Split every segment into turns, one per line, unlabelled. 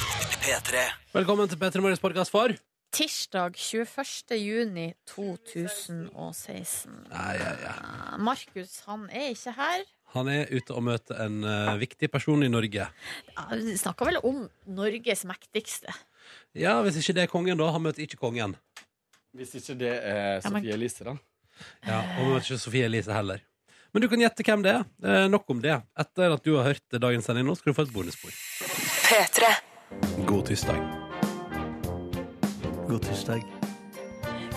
P3.
Velkommen til P3 Morgens podkast for
Tirsdag 21. juni 2016.
ja, ja, ja.
Markus han er ikke her.
Han er ute og møter en eh, viktig person i Norge.
Snakka vel om Norges mektigste.
Ja, Hvis ikke det er kongen, da. Han møter ikke kongen.
Hvis ikke det er
Ja, men-
Sofie Elise, da.
Ja, Og han møter ikke Sofie Elise heller. Men du kan gjette hvem det er. Eh, nok om det. Etter at du har hørt dagens sending nå, skal du få et bonusspor. God tirsdag.
God tirsdag.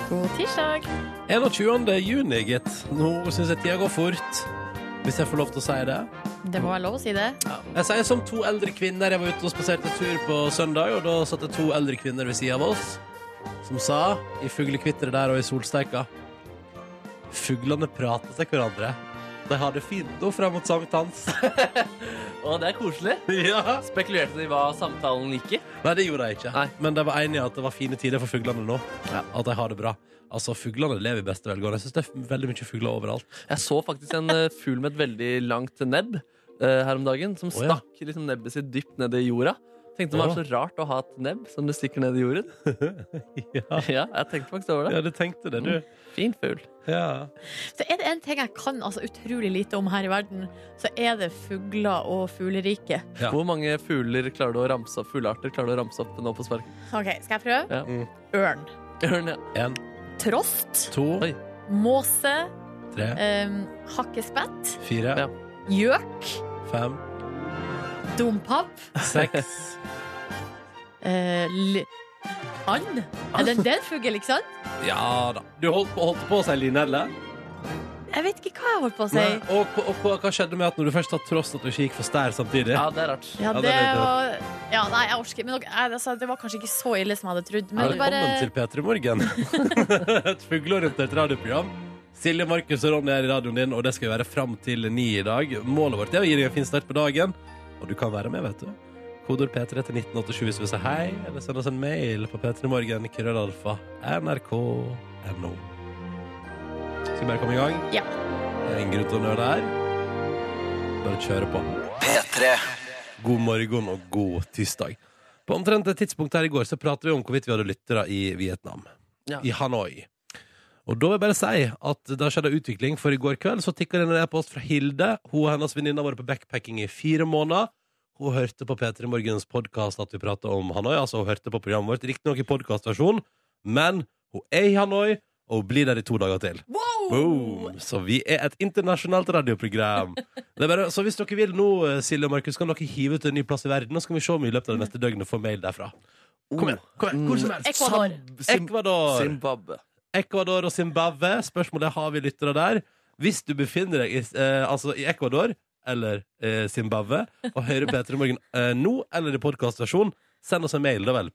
God tirsdag.
21. juni, gitt. Nå syns jeg tida går fort. Hvis jeg får lov til å si det.
Det må være lov å si det.
Jeg sier som to eldre kvinner. Jeg var ute og spaserte tur på søndag, og da satt det to eldre kvinner ved sida av oss, som sa, i fuglekvitteret der og i solsteika Fuglene prater til hverandre. De har det fint nå fram mot sankthans.
Og det er koselig.
ja.
Spekulerte de hva samtalen gikk i?
Nei, det gjorde jeg ikke.
Nei.
Men de var enige i at det var fine tider for fuglene nå. At de har det bra. Altså, Fuglene lever i beste velgående. Jeg syns det er veldig mye fugler overalt.
Jeg så faktisk en eh, fugl med et veldig langt nebb eh, her om dagen, som
Å, ja.
stakk liksom nebbet sitt dypt ned i jorda. Tenkte det var så rart å ha et nebb som du stikker ned i jorden.
Ja,
Ja, jeg tenkte faktisk over det.
du tenkte det, du.
Fin fugl.
Ja.
Så er det en ting jeg kan altså, utrolig lite om her i verden, så er det fugler og fugleriket.
Ja.
Hvor mange fugler klarer du å ramse opp, fuglearter klarer du å ramse opp nå på spark?
OK, skal jeg prøve?
Ja.
Mm.
Ørn.
Ørn, ja.
En,
Trost.
to,
Oi.
Måse.
tre,
em, hakkespett.
fire,
Ja.
Gjøk.
fem,
Dompap.
seks
eh, li- and. Er det, det er en fugl, ikke sant?
Ja da. Du holdt på, holdt på å si linelle.
Jeg vet ikke hva jeg holdt på å si.
Nei, Og, og, og, hva skjedde med at når du først har tross at du ikke gikk for stær samtidig?
ja, det er rart.
Ja,
Ja, det
det
er litt
var ja, Nei, jeg orker ikke. Men dere- jeg- altså, det var kanskje ikke så ille som jeg hadde trodd. Men det
Velkommen
bare
til P3 Morgen. Et fugleorientert radioprogram. Silje, Markus og Ronny er i radioen din, og det skal vi være fram til ni i dag. Målet vårt er å gi deg en fin start på dagen, og du kan være med, vet du. Kodord P3 til 1987 hvis du vil si hei, eller send oss en mail på p3morgen, krøllalfa, nrk.no. Skal vi bare komme i gang?
Ja.
Det er ingen grunn til å nøle her. Bare kjøre på.
P3.
God morgen og god tirsdag. På omtrent det tidspunktet her i går så pratet vi om hvorvidt vi hadde lyttere i Vietnam.
Ja.
I Hanoi. Og da vil jeg bare si at det har skjedd en utvikling, for i går kveld så tikka det inn en e-post fra Hilde. Hun og hennes venninne har vært på backpacking i fire måneder. Hun hørte på P3 Morgens podkast at vi prata om Hanoi, altså hun hørte på programmet vårt, riktignok i podkastversjon, men hun er i Hanoi, og hun blir der i to dager til. Boom! Så vi er et internasjonalt radioprogram. Det er bare, så hvis dere vil nå, eh, Silje og Markus, kan dere hive ut en ny plass i verden. Og så kan vi se om vi i løpet av det neste døgnet får mail derfra. Kom igjen, kom igjen, hvor som helst.
Ecuador.
Zim-
Ecuador.
Mm. Zimbabwe.
Ecuador og Zimbabwe. Spørsmålet er, har vi lyttere der. Hvis du befinner deg i, eh, altså i Ecuador eller eh, Zimbabwe og hører P3 Morgen eh, nå eller i podkastversjon, send oss en mail, da vel.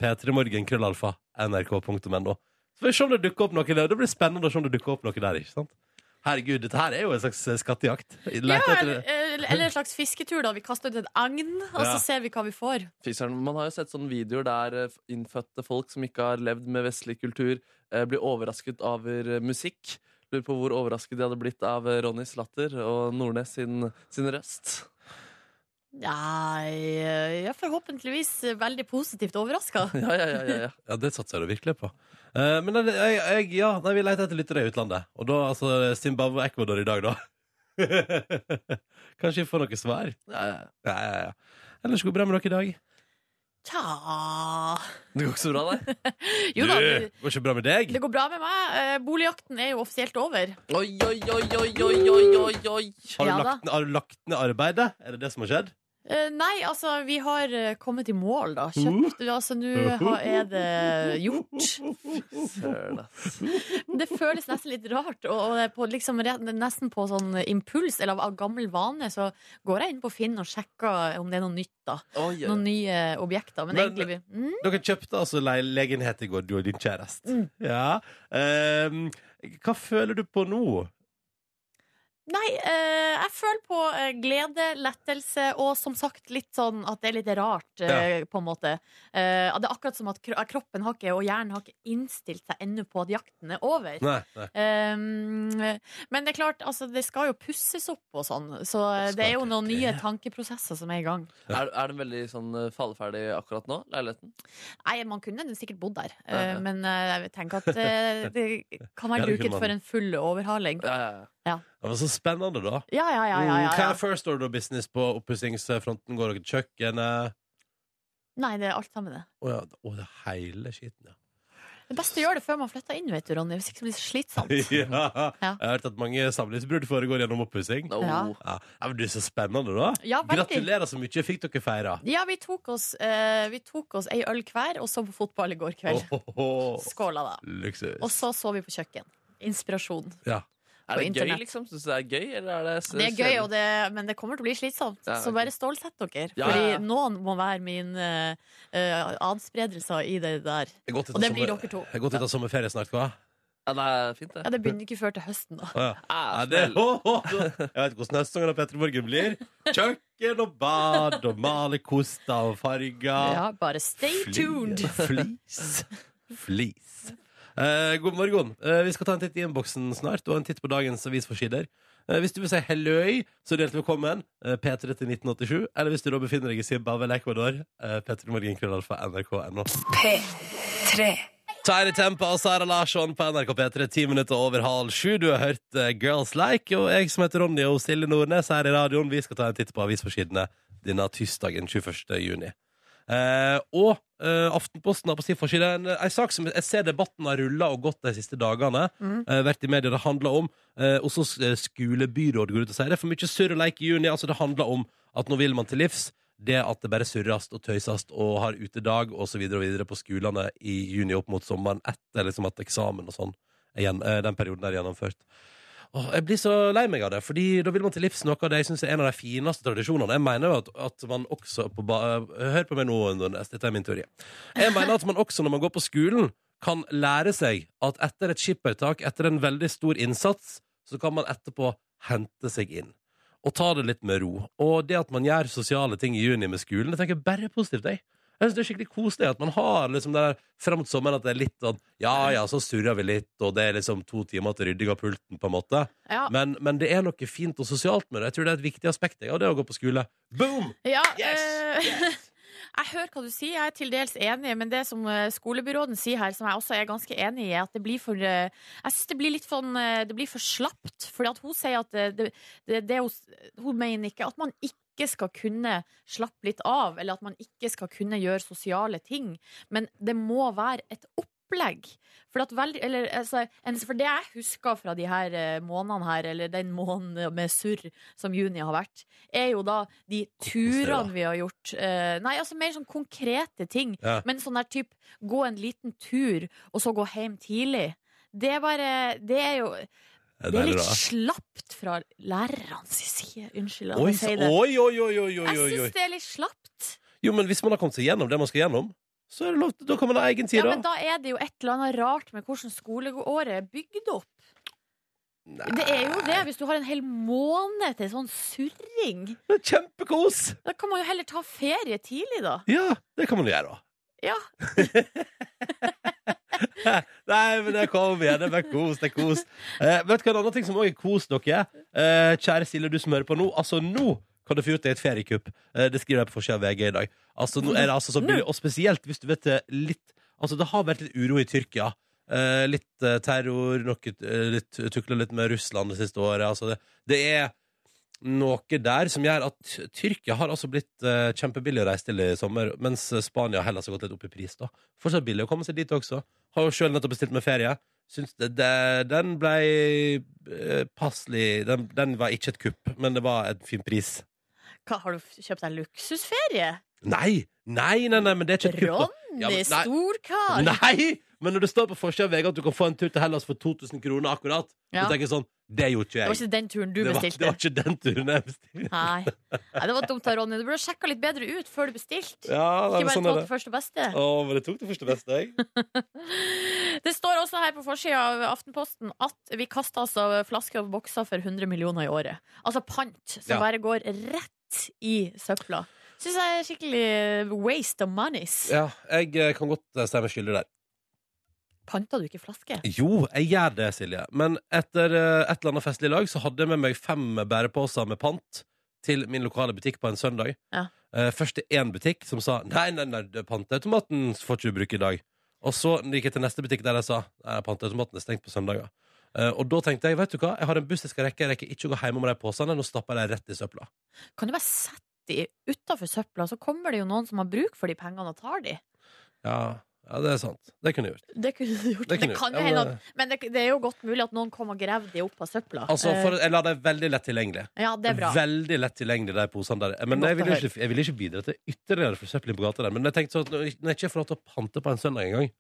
p3morgen.krøllalfa.nrk.no. Så får vi se om det dukker opp noe der. Det blir spennende å se om det dukker opp noe der. ikke sant? Herregud, dette her er jo en slags eh, skattejakt.
ja,
Leter etter
eller, eller en slags fisketur, da. Vi kaster ut et agn, og
Ja.
så ser vi hva vi får.
Fy søren, Man har jo sett sånne videoer der eh, innfødte folk som ikke har levd med vestlig kultur, eh, blir overrasket over eh, musikk. Lurer på hvor overrasket de hadde blitt av eh, Ronnys latter og Nordnes sin, sin røst.
Nei Jeg er forhåpentligvis veldig positivt overraska.
Ja, ja, ja, ja, ja.
Ja, det satser jeg da virkelig på. Eh, men jeg, jeg, jeg, ja, nei, vi leter etter lyttere i utlandet. Og da altså Zimbabwe og Ecuador i dag, da. Kanskje vi får noe svar.
ja, ja.
Ja, ja, ja. Ellers går det bra med dere i dag.
Tja
Det går ikke så bra, nei?
Jo da,
du,
det,
går ikke bra med deg?
det går bra med meg. Eh, Boligjakten er jo offisielt over.
Oi, oi, oi, oi, oi, oi, oi, oi.
Har du,
Ja da.
lagt, ned- har du lagt ned arbeidet? Er det det som har skjedd?
Eh, Nei, altså, vi har eh, kommet i mål, da. Kjøpt Altså, nå har- er det gjort.
Søren, ass.
Det føles nesten litt rart. Og og det er på, liksom, re- nesten på sånn impuls eller av gammel vane så går jeg inn på Finn og sjekker om det er noe nytt. da
Oi, oi.
Noen nye objekter. Men,
Men-
egentlig mm,
Dere kjøpte altså le legenhet i går, du og din kjæreste.
Mm.
Ja. Ehm, hva føler du på nå?
Nei, eh, jeg føler på eh, glede, lettelse og som sagt litt sånn at det er litt rart, eh, på en måte. Eh, det er akkurat som at kro- kroppen har ikke, og hjernen har ikke innstilt seg ennå på at jakten er over.
Nei, nei.
Um, men det er klart, altså, det skal jo pusses opp og sånn, så
Skal
det er jo
det
noen
det?
nye tankeprosesser som er i gang.
Ja.
Er, er den veldig sånn eh, falleferdig akkurat nå, leiligheten?
Nei, man kunne sikkert bodd der,
Ja, ja.
eh, men eh, jeg tenker at eh, det
Ja,
kan
det kunne
være duket
man.
for en full overhaling.
Ja, ja, ja.
Det var så spennende, da.
Ja, ja, ja. ja,
Mm,
ja,
Hva er
ja.
first order of business på oppussingsfronten? Går dere til kjøkkenet?
Nei, det er alt sammen det.
Å ja, å, det er hele skiten, ja.
Det er best å gjøre det før man flytter inn, vet du, Ronny, hvis ikke det blir så slitsomt.
ja.
Ja.
Jeg har hørt at mange samlivsbrudd foregår gjennom oppussing.
Oh.
Ja.
Ja. ja, men du, så spennende, da.
Ja, veldig.
Gratulerer så mye. Fikk dere feira?
Ja, vi tok oss, eh, vi tok oss ei øl hver, og så på fotball i går kveld.
Ohoho.
Skåla, da.
Luksus.
Og så så vi på kjøkken. Inspirasjon.
Ja.
Er det
internett.
gøy, liksom? Syns du det er gøy, eller er det s-
Det er gøy,
kjedelig?
og det, men det kommer til å bli slitsomt.
Ja,
Så
ok.
bare stålsett dere.
Ja,
Fordi
ja, ja.
noen må være min eh, eh, adspredelser i det der.
Jeg er godt ut av
Og det blir
sommer-
dere to.
Jeg er godt ut av sommerferie snart, hva?
Ja, det er fint,
Ja,
det.
Det begynner ikke før til høsten, da.
Å, ja.
Ah,
Ja, det,
snill.
Å, å, å. jeg vet ikke hvordan høstsesongen av Petter Morgen blir. Kjøkken og bad og male koster og farger.
Ja, bare stay
Fly-
tuned!
Flis. Flis. Eh, god morgen. Eh, vi skal ta en titt i innboksen snart, og en titt på dagens avisforsider. Eh, hvis du vil si helløy, så er du hjertelig velkommen. Eh, P3 til 1987. Eller hvis du da befinner deg i Zimbabwe eller Ecuador, eh, P3 Morgen krøllalfa nrk.no. Tiny Tempa og Sara Larsson på NRK P3, ti minutter over halv sju. Du har hørt eh, Girls Like, og jeg som heter Ronny og Silje Nordnes her i radioen, vi skal ta en titt på avisforsidene denne tirsdagen 21. juni. Eh, og eh, Aftenposten har på sin forside en, en sak som jeg ser debatten har rulla og gått de siste dagene.
Mm.
Eh, vært i media. Det handler om eh, også s- eh, skolebyråd går ut og sier det er for mye surr og leik i juni. Altså, det handler om at nå vil man til livs det at det bare surres og tøyses og har utedag osv. videre på skolene i juni opp mot sommeren etter liksom at eksamen og sånn er gjen- eh, den perioden er gjennomført. Åh, jeg blir så lei meg av det, Fordi da vil man til livs noe av det jeg synes er en av de fineste tradisjonene. Jeg mener jo at, at man også på ba eh, Hør på meg nå, Nordnes. Dette er min teori. Jeg mener at man også når man går på skolen, kan lære seg at etter et skippertak, etter en veldig stor innsats, så kan man etterpå hente seg inn og ta det litt med ro. Og det at man gjør sosiale ting i juni med skolen, det tenker jeg bare er positivt. Jeg. Jeg synes Det er skikkelig koselig at man har liksom det der frem mot sommeren at det er litt sånn Ja ja, så surrer vi litt, og det er liksom to timer til rydding av pulten, på en måte.
Ja,
Men, men det er noe fint og sosialt med det. Jeg tror det er et viktig aspekt jeg, av det å gå på skole. Boom!
ja
Yes!
eh, Jeg hører hva du sier, jeg er til dels enig, men det som eh, skolebyråden sier her, som jeg også er ganske enig i, er at det blir for eh, Jeg syns det blir litt sånn eh, Det blir for slapt. Fordi at hun sier at eh, det, det, det hun, s- hun mener ikke at man ikke skal kunne slappe litt av, eller at man ikke skal kunne gjøre sosiale ting, men det må være et opplegg. For, at vel, eller, altså, en, for det jeg husker fra de her eh, månedene her, eller den måneden med surr som juni har vært, er jo da de turene vi har gjort. eh, nei, altså mer sånn konkrete ting.
Ja.
Men sånn der typ gå en liten tur, og så gå hjem tidlig. Det er bare Det er jo
Det
Det er
deilig,
litt
da.
slapt fra lærerne sin side. Unnskyld at
Oi,
jeg
så,
sier det.
oi, oi, oi, oi, oi,
Jeg
oi, oi.
syns det er litt slapt.
Jo, men hvis man har kommet seg gjennom det man skal gjennom, så er det lov, da kan man ha egen tid,
Ja, men
da.
da er det jo et eller annet rart med hvordan skoleåret er bygd opp. Det er jo det, hvis du har en hel måned til sånn surring.
Det er Kjempekos!
Da kan man jo heller ta ferie tidlig, da.
Ja, det kan man gjøre, da.
Ja.
Nei, men det kom igjen. Det er bare kos. Det er kos. Eh, vet du hva en annen ting som også er kos dere? Eh, kjære Silje, du som hører på nå. Altså, nå kan du få gjort deg et feriekupp. Eh, det skriver jeg på forsida av VG i dag. Altså, nå er det altså så billig, og spesielt hvis du vet det litt Altså, det har vært litt uro i Tyrkia. Eh, litt eh, terror, noe eh, litt tukla litt med Russland det siste året. Altså, det, det er noe der som gjør at Tyrkia har altså blitt eh, kjempebillig å reise til i sommer, mens Spania og Hellas har gått litt opp i pris. da. Fortsatt billig å komme seg dit også. Har jo sjøl nettopp bestilt meg ferie. Syns det, det, den ble eh, passelig den, den var ikke et kupp, men det var en fin pris.
Hva, har du f- kjøpt deg luksusferie?
Nei! Nei, nei, nei, men det er ikke et kupp. da.
Ronny,
Ja, men- nei.
storkar!
Nei! Men når det står på forsida av VG at du kan få en tur til Hellas for 2000 kroner akkurat,
Ja.
så tenker jeg sånn Det gjorde ikke
Det
jeg.
var ikke den turen du
det, var, det
bestilte.
var ikke den turen jeg bestilte.
Nei. Nei, det var dumt av Ronny. Du burde sjekka litt bedre ut før du bestilte.
Ja, nei,
Ikke
men
bare
sånn
ta
er
det
det.
første beste.
Å, men det tok det første beste, jeg.
Det står også her på forsida av Aftenposten at vi kaster altså flasker og bokser for 100 millioner i året. Altså pant som
Ja.
bare går rett i søpla. Syns jeg er skikkelig waste of monies.
Ja, jeg eh, kan godt eh, stemme skyldig der.
Panta du ikke flasker?
Jo, jeg gjør det, Silje. Men etter eh, et eller annet festlig lag så hadde jeg med meg fem bæreposer med pant til min lokale butikk på en søndag.
Ja.
Eh, først til én butikk som sa nei, nei, nei, det er panteautomaten får ikke du bruke i dag. Og så gikk jeg til neste butikk der de sa nei, panteautomaten er stengt på søndager. Eh, og da tenkte jeg vet du hva, jeg har en buss jeg skal rekke, jeg rekker ikke å gå hjem med de posene. Nå stapper jeg dem rett i søpla.
Kan du bare sette de utafor søpla, så kommer det jo noen som har bruk for de pengene og tar de.
Ja, ja det er sant. Det kunne jeg gjort.
Det kunne du
Det
gjort. Det,
kunne du
kan
gjort.
jo
Ja,
hende
men-
at Men det, det er jo godt mulig at noen kom og gravde de opp av søpla.
Altså,
Eh,
for, Jeg la dem veldig lett tilgjengelig.
ja, det er bra.
Veldig lett tilgjengelig, de posene der. Men
Godt
jeg ville
å
ikke, jeg ville ikke bidra til ytterligere forsøpling på gata der. Men jeg tenkte sånn at når jeg- når jeg ikke får lov til å pante på en søndag engang,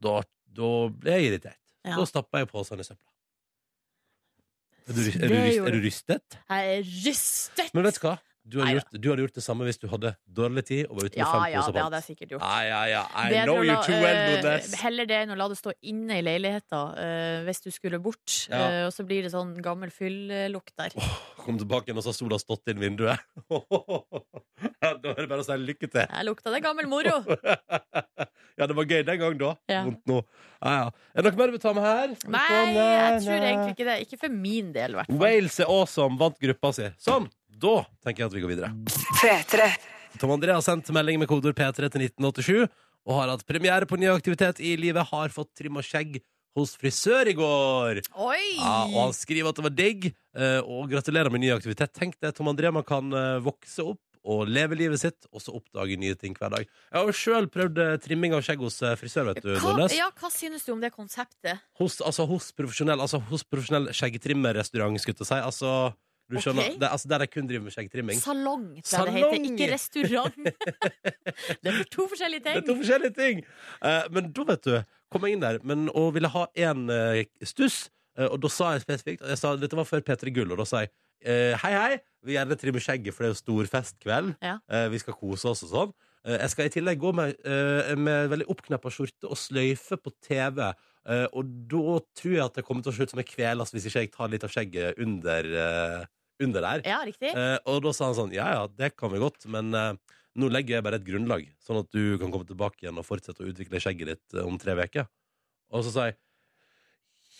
da, da ble jeg irritert.
Ja.
Da stappa jeg posene i søpla. Er du, ryst- er,
Det
du, ryst-
gjorde
er du rystet?
Jeg er rystet!
Men vet du hva? Du hadde,
Nei,
gjort, du hadde gjort det samme hvis du hadde dårlig tid og var ute med
ja,
fem
ja,
poser
det hadde
pant.
jeg sikkert gjort.
Ja, ja, ja. I
Bedre
know
å
you
la-
too well,
eh,
Nordnes.
Heller det enn å la det stå inne i leiligheta eh, hvis du skulle bort.
Ja.
eh, og så blir det sånn gammel fyllelukt der.
Kom tilbake igjen, og så har sola stått inn vinduet. Ja, da er det bare å si lykke til.
Der lukta det gammel moro!
ja, det var gøy den gang da.
Ja.
Vondt nå. Ja, ja. Er det noe mer du vil ta med her? eh,
Nei, jeg tror egentlig ikke det. Ikke for min del, i hvert fall.
Wales er awesome, vant gruppa si. Sånn! Da tenker jeg at vi går videre. Tom André har sendt melding med kodeord P3 til 1987 og har hatt premiere på ny aktivitet i livet. Har fått trim og skjegg hos frisør i går.
Oi!
Ja, og han skriver at det var digg, eh, og gratulerer med ny aktivitet. Tenk det, Tom André, man kan eh, vokse opp og leve livet sitt, og så oppdage nye ting hver dag. Jeg har jo sjøl prøvd eh, trimming av skjegg hos eh, frisør, vet du,
hva,
Nordnes.
ja, hva synes du om det konseptet?
Hos, altså, hos profesjonell, altså, hos profesjonell skjeggtrimmerrestaurant, skulle jeg til å si. Altså, du
Ok.
skjønner, det, altså, der de kun driver med skjeggtrimming.
Salong, tror jeg det
Salong!
heter. Ikke restaurant. det er for to forskjellige
Det er to
ting.
forskjellige ting. Eh, men da, vet du, kom jeg inn der men, og ville ha én stuss. eh, og da sa jeg spesifikt og jeg sa, Dette var før P3 Gull, og da sa jeg eh, hei, hei, vi vil gjerne trimme skjegget, for det er jo stor festkveld.
Ja.
Eh, vi skal kose oss og sånn. Eh, jeg skal i tillegg gå med, eh, med veldig oppkneppa skjorte og sløyfe på TV. eh, og da tror jeg at jeg kommer til å se ut som jeg kveles hvis ikke jeg tar litt av skjegget under, eh, under der.
Ja, riktig.
Eh, og da sa han sånn, ja ja, det kan vi godt, men eh, nå legger jeg bare et grunnlag, sånn at du kan komme tilbake igjen og fortsette å utvikle skjegget ditt eh, om tre uker. Og så sa jeg,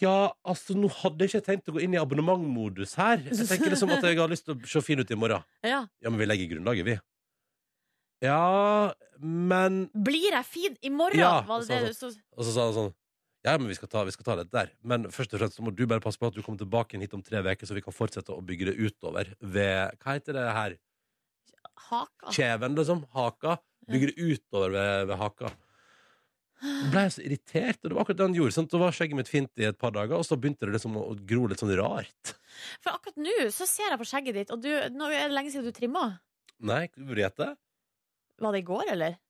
ja, altså nå hadde jeg ikke tenkt å gå inn i abonnementmodus her. Jeg tenker liksom at jeg har lyst til å se fin ut i morgen.
Ja.
Ja, men vi legger grunnlaget, vi. Ja, men
Blir jeg fin i morgen?
Ja, altså,
var det
sa
det du så?
og så sa han sånn Ja, men vi skal ta, vi skal ta det der. Men først og fremst så må du bare passe på at du kommer tilbake igjen hit om tre uker, så vi kan fortsette å bygge det utover ved Hva heter det her?
Haka?
Kjeven, liksom. Haka. Bygge det utover ved, ved haka. Da ble jeg så irritert, og det var akkurat det han gjorde. Sant? Så var skjegget mitt fint i et par dager, og så begynte det liksom å å gro litt sånn rart.
For akkurat nå så ser jeg på skjegget ditt, og du, nå er det lenge siden du trimma.
Nei, burde jeg gjette?
Var det i går, eller?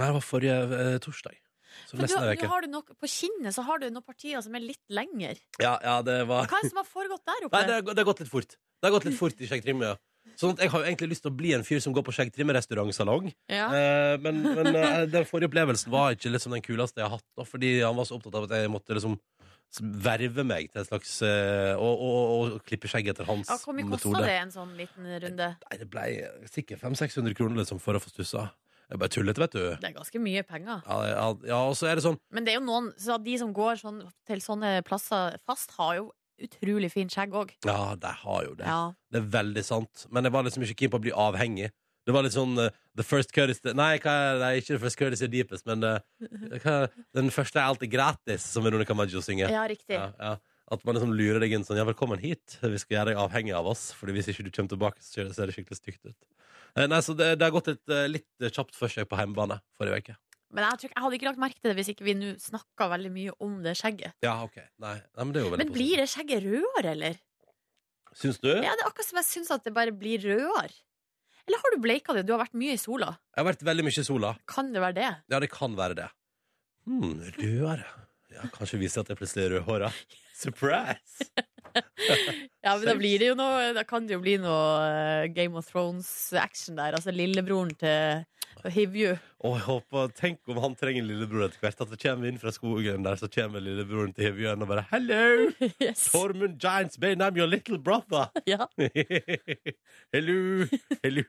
Nei, det var forrige eh, torsdag. Så
For du,
nesten ei
nå
uke.
har du nok, på kinnet så har du noen partier som er litt lengre.
Ja, ja, det var
Hva er det som har foregått der oppe?
Nei, det har, gå- det har gått litt fort. Det har gått litt fort i skjeggtrimmer, ja. Sånn at jeg har jo egentlig lyst til å bli en fyr som går på skjeggtrimmerrestaurantsalong.
ja.
Eh, men men eh, den forrige opplevelsen var ikke liksom den kuleste jeg har hatt, da, fordi han var så opptatt av at jeg måtte liksom s- verve meg til et slags eh, og, og, og klippe skjegg etter hans
Ja, Hvor mye kosta
metode.
det en sånn liten runde?
Nei, det ble sikkert 500-600 kroner liksom, for å få stussa. Jeg bare tullete, vet du.
Det er ganske mye penger.
Ja, ja, ja, og så er det sånn
Men det er jo noen, så de som går sånn, til sånne plasser fast, har jo utrolig fint skjegg òg.
Ja, de har jo det.
Ja.
Det er veldig sant. Men jeg var liksom ikke keen på å bli avhengig. Det var litt sånn eh, The first courtesy Nei, hva er det? Nei, ikke The first courtesy er deepest, men eh, hva, den første er alltid gratis, som Veronica Maggio synger.
ja, riktig.
Ja, ja. At man liksom lurer deg inn sånn Ja, velkommen hit. Vi skal gjøre deg avhengig av oss. Fordi hvis ikke du kommer tilbake, så ser det- ser det skikkelig stygt ut. Eh, Nei, så det, det har gått et eh, litt kjapt forsøk på hjemmebane forrige uke.
Men jeg, tror, ikke- jeg hadde ikke lagt merke til det hvis ikke vi nå snakka veldig mye om det skjegget.
Ja, OK. Nei, nei men det er jo veldig
Men blir det skjegget rødere, eller?
positivt. Syns du?
Ja, det er akkurat som jeg syns at det bare blir rødere. Eller har du bleika det? Du har vært mye i sola.
Jeg har vært veldig mye i sola.
Kan det være det?
Ja, det kan være det. Hmm, rødere. Ja, kanskje viser at jeg plutselig er rødhåra. Surprise!
Ja, men da blir det jo noe Da kan det jo bli noe eh, Game of Thrones-action der. Altså lillebroren til Hivju.
Og jeg håper, Tenk om han trenger lillebror etter hvert. At det kommer inn fra skogen der, så kommer lillebroren til Hivjørn og bare 'Hello!
Yes.
Tormund Giants Bane, I'm your little brother!'
Ja,
hello! Hello!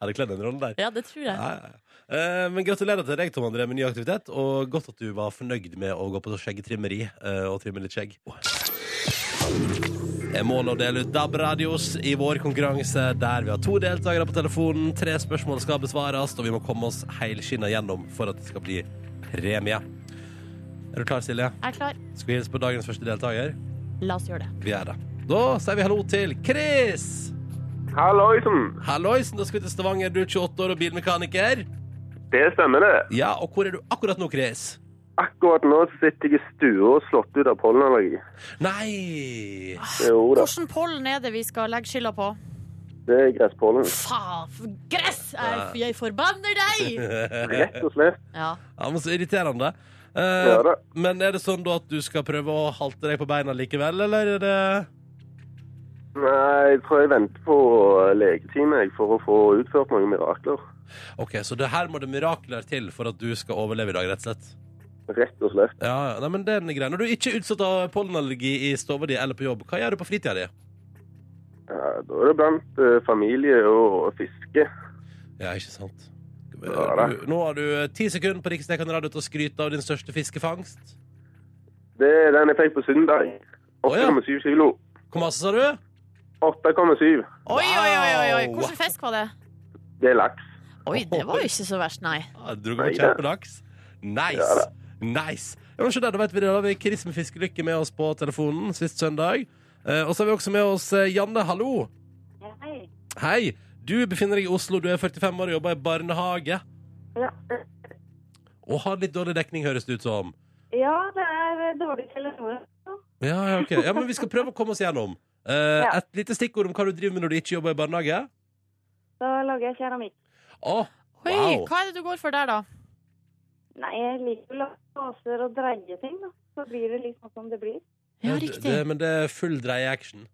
Ja, det kledd en rolle der.
ja, det tror jeg.
Ja, ja. Eh, men gratulerer til deg, Tom André, med ny aktivitet. Og godt at du var fornøyd med å gå på skjeggetrimmeri eh, og trimme litt skjegg. Jeg må nå dele ut DAB-radios i vår konkurranse, der vi har to deltakere på telefonen. Tre spørsmål skal besvares, og vi må komme oss helskinna gjennom for at det skal bli premie. Er du klar, Silje?
Jeg er klar.
Skal vi hilse på dagens første deltaker?
La oss gjøre det.
Vi er det. Da sier vi hallo til Chris!
Halloisen!
Halloisen, da skal vi til Stavanger. Du er 28 år og bilmekaniker.
Det stemmer, det.
Ja, og hvor er du akkurat nå, Chris?
Akkurat nå så sitter jeg i stua og slått ut av pollenallergi.
Nei!
Jo da,
Hvordan pollen er det vi skal legge skylda på?
det er gresspollen.
Faen, for gress! Jeg, jeg forbanner deg!
Rett og slett.
Ja.
Ja, men så irriterende. Eh,
Ja, da.
men er det sånn da at du skal prøve å halte deg på beina likevel, eller er det
Nei, jeg tror jeg venter på legetime jeg, for å få utført noen mirakler.
OK, så det her må det mirakler til for at du skal overleve i dag, rett og slett.
Rett og slett.
Ja, ja. Nei, men det er den greia. Når du ikke er utsatt av pollenallergi i stua di eller på jobb, hva gjør du på fritida di?
Ja, da er det blant eh, familie og fiske.
Ja, ikke sant?
Ja, da.
Du- Nå har du eh, ti sekunder på Riksdekken Radio til å skryte av din største fiskefangst.
Det er den jeg fikk på søndag.
Å, ja.
8,7 kilo.
Hvor masse sa du?
8,7.
Oi, oi, oi, oi, oi.
Wow.
Hvordan fisk var det?
Det er laks.
Oi, det var jo ikke så verst, nei.
Ja, Dro på
Nei, det-
kjempelaks. Nice.
Ja,
nice. Ja, men så der, da vet vi det. Da har vi Chris med fiskelykke med oss på telefonen sist søndag. Eh, og så har vi også med oss eh, Janne. Hallo.
Hei.
Hei. Du befinner deg i Oslo. Du er 45 år og jobber i barnehage.
Ja.
Og har litt dårlig dekning, høres det ut som.
ja, det er dårlig telefon.
Ja, ja, ok. Ja, men vi skal prøve å komme oss gjennom. Eh,
Ja.
Et lite stikkord om hva du driver med når du ikke jobber i barnehage.
Da lager jeg keramikk.
Å,
Oi,
Wow.
Hva er det du går for der, da?
Nei, jeg liker å lage baser og dreie ting, da. Så blir det liksom som det blir.
Ja,
det-
riktig.
Det, men det er full dreie-action.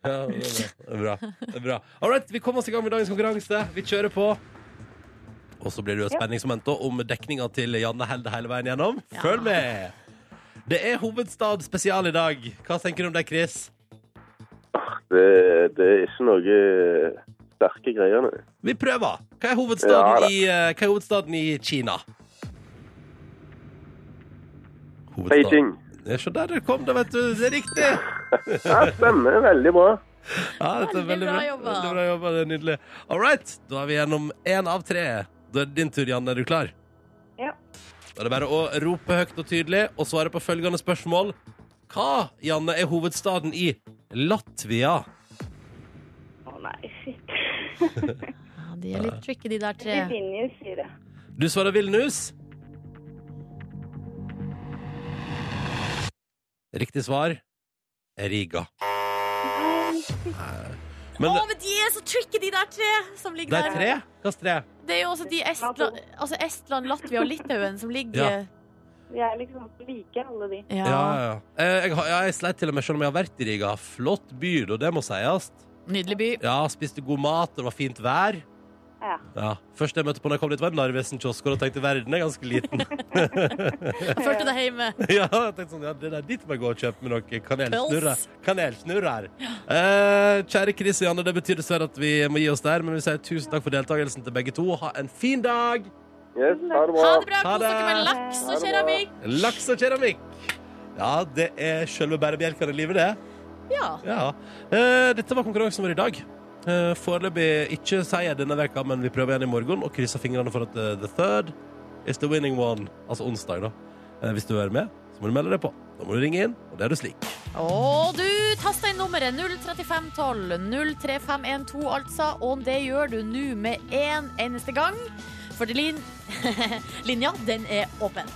Ja, det er bra. Det er bra. Det er bra. All right, vi kommer oss i gang med dagens konkurranse. Vi kjører på. Og så blir det jo et
Ja.
spenningsmoment da om dekninga til Janne Helde hele veien gjennom.
Ja.
Følg med! Det er hovedstad spesial i dag. Hva tenker du om det, Chris?
Det, det er ikke noe eh, sterke greier. nei.
Vi prøver. Hva er
Ja,
hovedstaden,
da.
i, eh, hva er hovedstaden i Kina? Hovedstaden.
Beijing.
Ja, se der, det kom det, vet du. Det er riktig!
Ja, stemmer. Veldig bra.
Ja, dette er veldig
Veldig
bra,
bra jobba.
Veldig bra jobba. Det er nydelig. All right, da er vi gjennom én av tre. Da er det din tur, Janne. Er du klar?
Ja.
Da er det bare å rope høyt og tydelig og svare på følgende spørsmål. Hva, Janne, er hovedstaden i Latvia?
Å nei, shit.
Ja, de er litt tricky, de der tre.
Vi vinner jo fire.
Du svarer Vilnius. Riktig svar er Riga.
Å,
Men
men de er så tricky, de der tre som ligger
det er
der.
tre? Hvilke tre?
Det er jo også de Estland, altså Estland, Latvia og Litauen som ligger
Ja.
Vi er liksom like, alle de.
Ja.
Ja, ja. Eh, Jeg, har- jeg sleit til og med selv om jeg har vært i Riga. Flott by, da, det må sies.
Nydelig by.
Ja, spiste god mat, og det var fint vær.
Ja.
Ja. Først jeg møtte på når jeg kom dit, var en Narvesen kiosk, og da tenkte jeg, verden er ganske liten.
Jeg følte deg hjemme.
ja, jeg tenkte sånn, ja, det der dit må jeg gå og kjøpe med noen kanelsnurrer.
Pils.
Kanelsnurrer. Eh, kjære Chris og Janne, det betyr dessverre at vi må gi oss der, men vi sier tusen takk for deltakelsen til begge to. Ha en fin dag!
Yes, ha det
Ha
bra.
det bra.
Ha
Kos dere med
det.
laks
Ha
og
det bra.
keramikk.
Laks og keramikk! Ja, det er selve bærebjelkene i livet, det.
Ja.
Ja. Eh, dette var konkurransen vår i dag. Eh, Foreløpig ikke seier denne veka, men vi prøver igjen i morgen og krysser fingrene for at eh, the third is the winning one. Altså onsdag, da. Eh, hvis du vil være med, så må du melde deg på. Da må du ringe inn, og det er du slik.
Og du tasta inn nummeret 03512 03512, altså. Og det gjør du nå med en eneste gang. For det lin linja, den er åpen.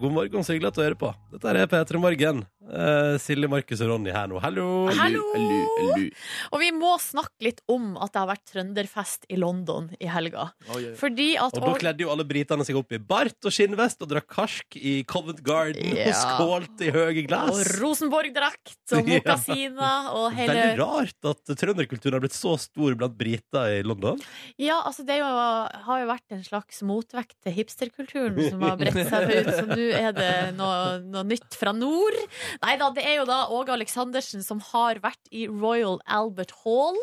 God morgen, så hyggelig at du hører på. Dette er P3 Morgen. eh, Silje, Markus og Ronny her nå. Hallo!
Hallo!
Elu, elu, elu.
Og vi må snakke litt om at det har vært trønderfest i London i helga.
Oi, oi, oi.
Fordi at
Og da kledde jo alle britene seg opp i bart og skinnvest og drakk karsk i Covent Garden og
Ja.
skålte i høye
og
glass.
Rosenborg-drakt og
Ja.
mokasiner og hele
Veldig rart at trønderkulturen har blitt så stor blant briter i London.
Ja, altså det er jo, har jo vært en slags motvekt til hipsterkulturen som har bredt seg ut, så nå er det noe, noe nytt fra nord. Nei da, det er jo da Åge Aleksandersen som har vært i Royal Albert Hall.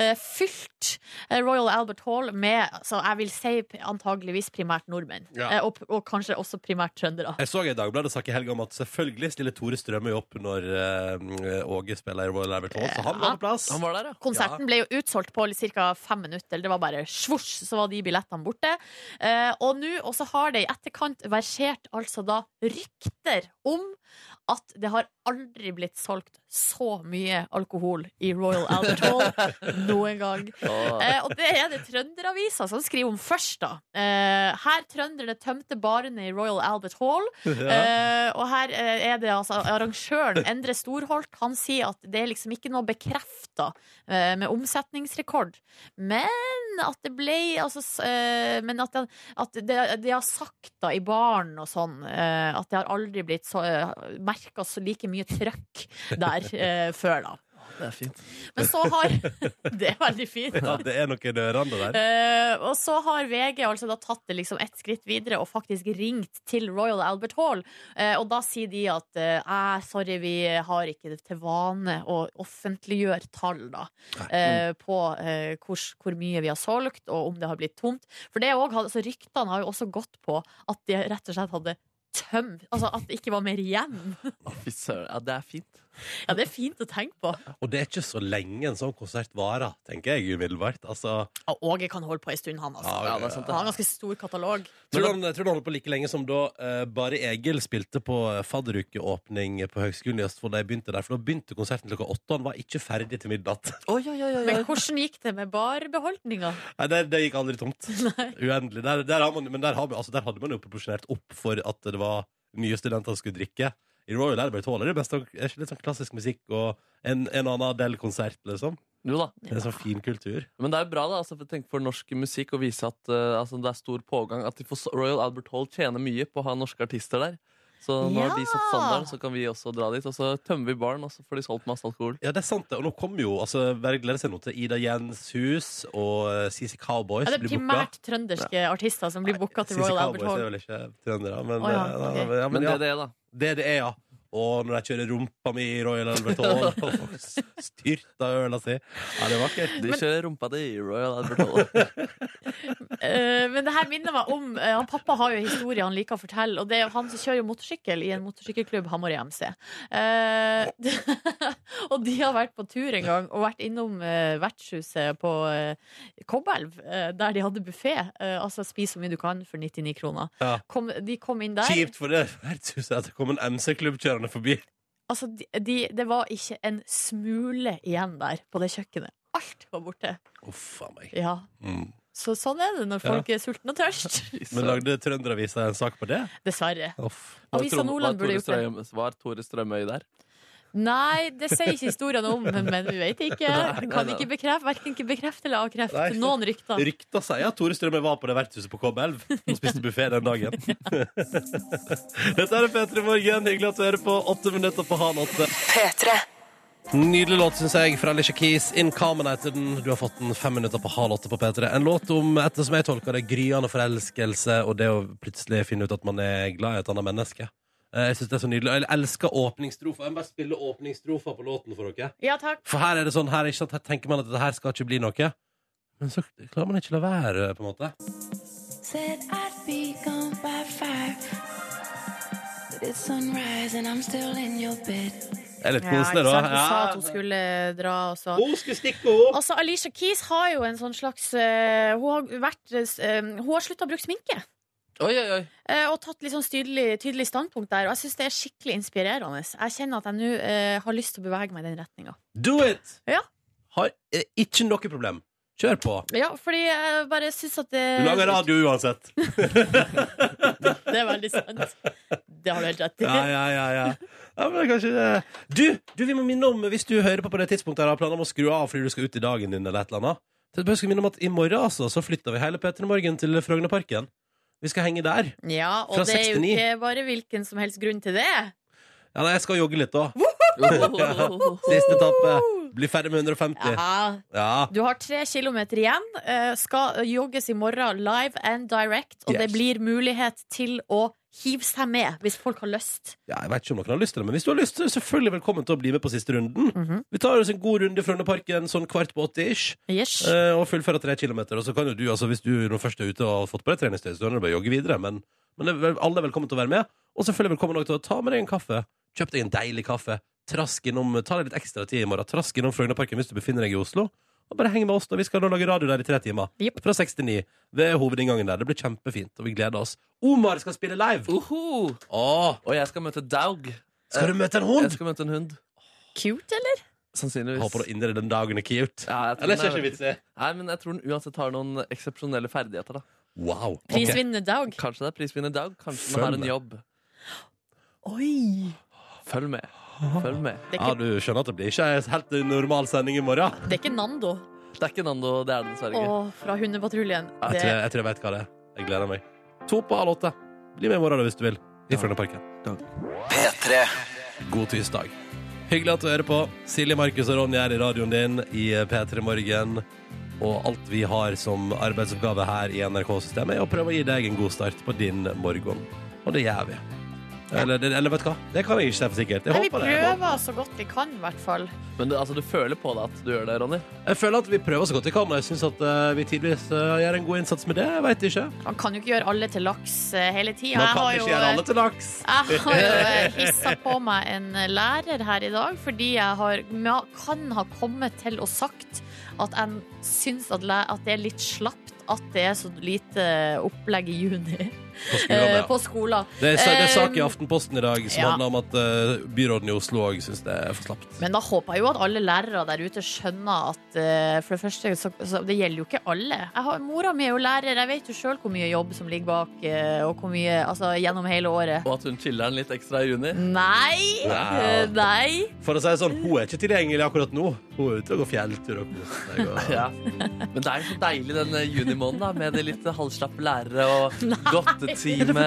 eh, fylt eh, Royal Albert Hall med, altså jeg vil si antageligvis primært nordmenn.
Ja.
eh, og, og kanskje også primært trøndere.
Jeg så i Dagbladet-sak i helga om at selvfølgelig stiller Tore Strømøy opp når eh, Åge spiller i Royal Albert Hall, så han var på plass.
Han var der, ja.
Konserten ble jo utsolgt på ca. fem minutter. Det var bare svosj, så var de billettene borte. Eh, og nå, og så har det i etterkant versert altså da rykter om at det har aldri blitt solgt så mye alkohol i Royal Albert Hall noen gang.
Å,
Eh, og det er det Trønderavisa som skriver om først, da. Eh, her trønderne tømte barene i Royal Albert Hall. Eh, og her eh, er det altså arrangøren Endre Storholt. Han sier at det er liksom ikke noe bekrefta eh, med omsetningsrekord. Men at det ble altså, s- eh, Men at, han- at det, det har sagt da i baren og sånn, eh, at det har aldri blitt så, eh, merka så like mye trøkk der eh, før, da.
det er fint.
Men så har Det er veldig fint.
Ja, det er noe rørende der.
Eh, og så har VG altså da tatt det liksom ett skritt videre og faktisk ringt til Royal Albert Hall. Eh, og da sier de at eh, «Eh, sorry, vi har ikke det til vane å offentliggjøre tall da, eh, på eh, hvor, hvor mye vi har solgt, og om det har blitt tomt. For det er også, altså, ryktene har jo også gått på at de rett og slett hadde tømt, altså at det ikke var mer igjen.
Å, Fy søren. Ja, det er fint.
Ja, det er fint å tenke på.
Og det er ikke så lenge en sånn konsert varer, tenker jeg umiddelbart. Altså,
Ja, Åge kan holde på en stund, han altså.
Ja, det er sant, det.
Han har en ganske stor katalog.
tror, du han, tror du han holder på like lenge som da eh, Bare Egil spilte på eh, fadderukeåpning på Høgskolen i Østfold? Da jeg begynte der, for da begynte konserten klokka åtte, og han var ikke ferdig til midnatt.
Oi, oi, oi, oi,
Men
oi.
hvordan gikk det med barbeholdninga?
Nei, det, det gikk aldri tomt. Uendelig. Der, der har man, men der, har, man- altså, der hadde man jo proporsjonert opp for at det var nye studenter som skulle drikke. I Royal Albert Hall er det best, er ikke litt sånn klassisk musikk og en, en og annen Adele-konsert, liksom.
Jo da.
Det er sånn fin kultur.
Men det er jo bra da, altså, for, tenk for norsk musikk å vise at eh, altså, det er stor pågang. At de får, Royal Albert Hall tjener mye på å ha norske artister der. Så nå har de satt standarden, så kan vi også dra dit. Og så tømmer vi baren, og så får de solgt masse alkohol.
Ja, det er sant, det. Og nå kommer jo altså, bare gleder seg nå til Ida Jens Hus og eh, CC Cowboys.
Ja, det er
blir
primært
booka.
trønderske artister som blir booka til
CC Cowboys
Royal Albert
er
Hall.
vel ikke trøndere, men,
Å, ja,
eh,
ok.
ja, men
Men
ja,
det er det, da.
det det er, ja. Og når de kjører rumpa mi i Royal Albert Hall og folk styrter altså. øla si. Ja, det er vakkert.
De kjører rumpa di i Royal Albert Hall.
Eh, men det her minner meg om eh, han Pappa har jo historier han liker å fortelle, og det er jo han som kjører jo motorsykkel i en motorsykkelklubb, Hamar IMC. Eh, og de har vært på tur en gang og vært innom eh, vertshuset på eh, Kobbelv, eh, der de hadde buffé. altså spis så mye du kan for 99 kroner.
Ja.
Kom, de kom inn der.
Kjipt for det vertshuset at det kom en MC-klubb kjørende forbi.
Altså, de, de, det var ikke en smule igjen der på det kjøkkenet. Alt var borte.
Uff a meg.
Ja.
Mm.
Så sånn er det når folk er sultne og tørst.
Men lagde Trønderavisa en sak på det?
Dessverre.
Uff.
Var
Avisa
Trom-
Nordland
var
burde gjort det.
Tore Strøm- Var Tore Strømøy der?
Nei, det sier ikke historien om, men du vet ikke. Kan ikke bekrefte, verken ikke bekrefte eller avkrefte
Nei, ikke sant.
noen rykter.
Rykta sier at Tore Strømme var på det vertshuset på K11 og spiste buffé den dagen. Dette er P3 Morgen. Hyggelig at du hører på. Åtte minutter på halv åtte. Nydelig låt, syns jeg, fra Alicia Keys. 'In Common' heter den. Du har fått den fem minutter på halv åtte på P3. En låt om, etter som jeg tolker det, gryende forelskelse og det å plutselig finne ut at man er glad i et annet menneske. Eh, Jeg synes det er så nydelig. Og Jeg elsker åpningsstrofa. Jeg må bare spille åpningsstrofa på låten for dere.
Ja takk.
For her er det sånn, her, er ikke sant, her tenker man at dette her skal ikke bli noe. Men så klarer man ikke la være, på en måte.
Said I'd be gone by five. But it's sunrise and I'm still in your bed.
Det er litt
Ja, ikke
koselig, da.
sant? Hun sa at hun
Ja.
skulle dra, og så
Hun skulle stikke opp!
Altså, Alicia Keys har jo en sånn slags eh, Hun har, vært, eh, hun har slutta å bruke sminke.
Oi, oi, oi.
Eh, Og tatt litt sånn tydelig, tydelig standpunkt der. Og jeg syns det er skikkelig inspirerende. Jeg kjenner at jeg nå eh, har lyst til å bevege meg i den retninga.
Do it!
Ja.
Har eh, ikke noe problem. Kjør på.
Ja, fordi jeg bare syns at det
Du lager radio uansett.
Det er veldig sant. Det har du helt rett i.
Ja, ja, ja, ja. ja men kanskje det. Du, du, vi må minne om, hvis du hører på på det tidspunktet her, har planer om å skru av fordi du skal ut i dagen din eller et eller annet. Så jeg skal minne om at i morgen altså, så flytter vi hele Peter Morgen til Frognerparken. Vi skal henge der.
Ja,
Fra
og det er jo
69.
ikke bare hvilken som helst grunn til det.
Ja, nei, jeg skal jogge litt, da.
Ja.
Siste etappe. Bli ferdig med 150.
Ja,
Ja.
Du har tre kilometer igjen. eh, Skal jogges i morgen live and direct. Og det
Yes.
blir mulighet til å hive seg med, hvis folk har lyst.
Ja, jeg vet ikke om noen har lyst til det, men hvis du har lyst, så er du selvfølgelig velkommen til å bli med på siste runden. Vi tar oss en god runde i Frognerparken sånn kvart på åtte-ish,
Yes.
eh, og fullfører tre kilometer. Og så kan jo du, altså hvis du når først er ute og har fått på deg treningstøy, så kan du bare jogge videre. Men, men det er vel- alle er velkommen til å være med. Og selvfølgelig velkommen også til å ta med deg en kaffe. Kjøp deg en deilig kaffe. Trask innom, Ta deg litt ekstra tid i morgen. Trask innom Frognerparken hvis du befinner deg i Oslo. Og bare heng med oss, da. Vi skal nå lage radio der i tre timer.
Jepp.
Fra 69 ved hovedinngangen der. Det blir kjempefint, og vi gleder oss. Omar skal spille live!
Uhu.
Åh,
Og jeg skal møte Daug.
skal du møte en
Jeg
hund?
skal møte en hund.
Cute, eller?
Jeg
Sannsynligvis.
Håper du inderlig den dagen er cute.
Ja, jeg tror
Eller
den er-
ikke vits i.
Nei, men jeg tror den uansett har noen eksepsjonelle ferdigheter. da
Wow. ok.
Prisvinnende dag.
Kanskje det er prisvinner Daug,
Følg
kanskje den har en
med.
jobb.
Oi!
Følg med. Følg med.
Det er
Ja,
ikke,
du skjønner at det blir ikke en helt normal sending i morgen.
det er ikke Nando.
Det er ikke Nando, det er det dessverre ikke.
Å, fra Hundepatruljen.
Jeg tror jeg, tror jeg vet hva det er. Jeg gleder meg. To på halv åtte. Bli med i morgen da, hvis du vil. I Frognerparken. God tirsdag. Hyggelig at du hører på. Silje, Markus og Ronny er i radioen din i P3 Morgen. Og alt vi har som arbeidsoppgave her i NRK-systemet, er å prøve å gi deg en god start på din morgen. Og det gjør vi. Eller, eller vet du hva? Det kan jeg ikke si for sikkert. Jeg
Nei, vi
håper det. Jeg håper-
prøver så godt vi kan, i hvert fall.
Men du, altså, du føler på deg at du gjør det, Ronny.
Jeg føler at vi prøver så godt vi kan, og jeg syns at eh, vi tidvis eh, gjør en god innsats med det. Jeg veit ikke.
Man kan jo ikke gjøre alle til laks eh, hele tida.
Man kan ikke
eh,
gjøre alle til laks.
Jeg har jo hissa på meg en eh, lærer her i dag, fordi jeg har, ma- kan ha kommet til og sagt at jeg syns at, læ- at det er litt slapt at det er så lite opplegg i juni
På skolen,
eh,
ja.
på skolen.
Det er, sa- det er sak i
Eh,
Aftenposten i dag som
ja.
handler om at eh, byråden i Oslo òg syns det er for slapt.
Men da håper jeg jo at alle lærere der ute skjønner at eh, for det første så, så Det gjelder jo ikke alle. Jeg har, mora mi er jo lærer, jeg vet jo sjøl hvor mye jobb som ligger bak, eh, og hvor mye Altså gjennom hele året.
Og at hun chiller den litt ekstra i juni.
Nei! eh, Nei!
For å si det sånn, hun er ikke tilgjengelig akkurat nå. Hun er ute og går fjelltur og koser seg. og-
Ja. Men det er jo så deilig den eh, junimåneden da, med de litt halvslappe lærere og godtetime.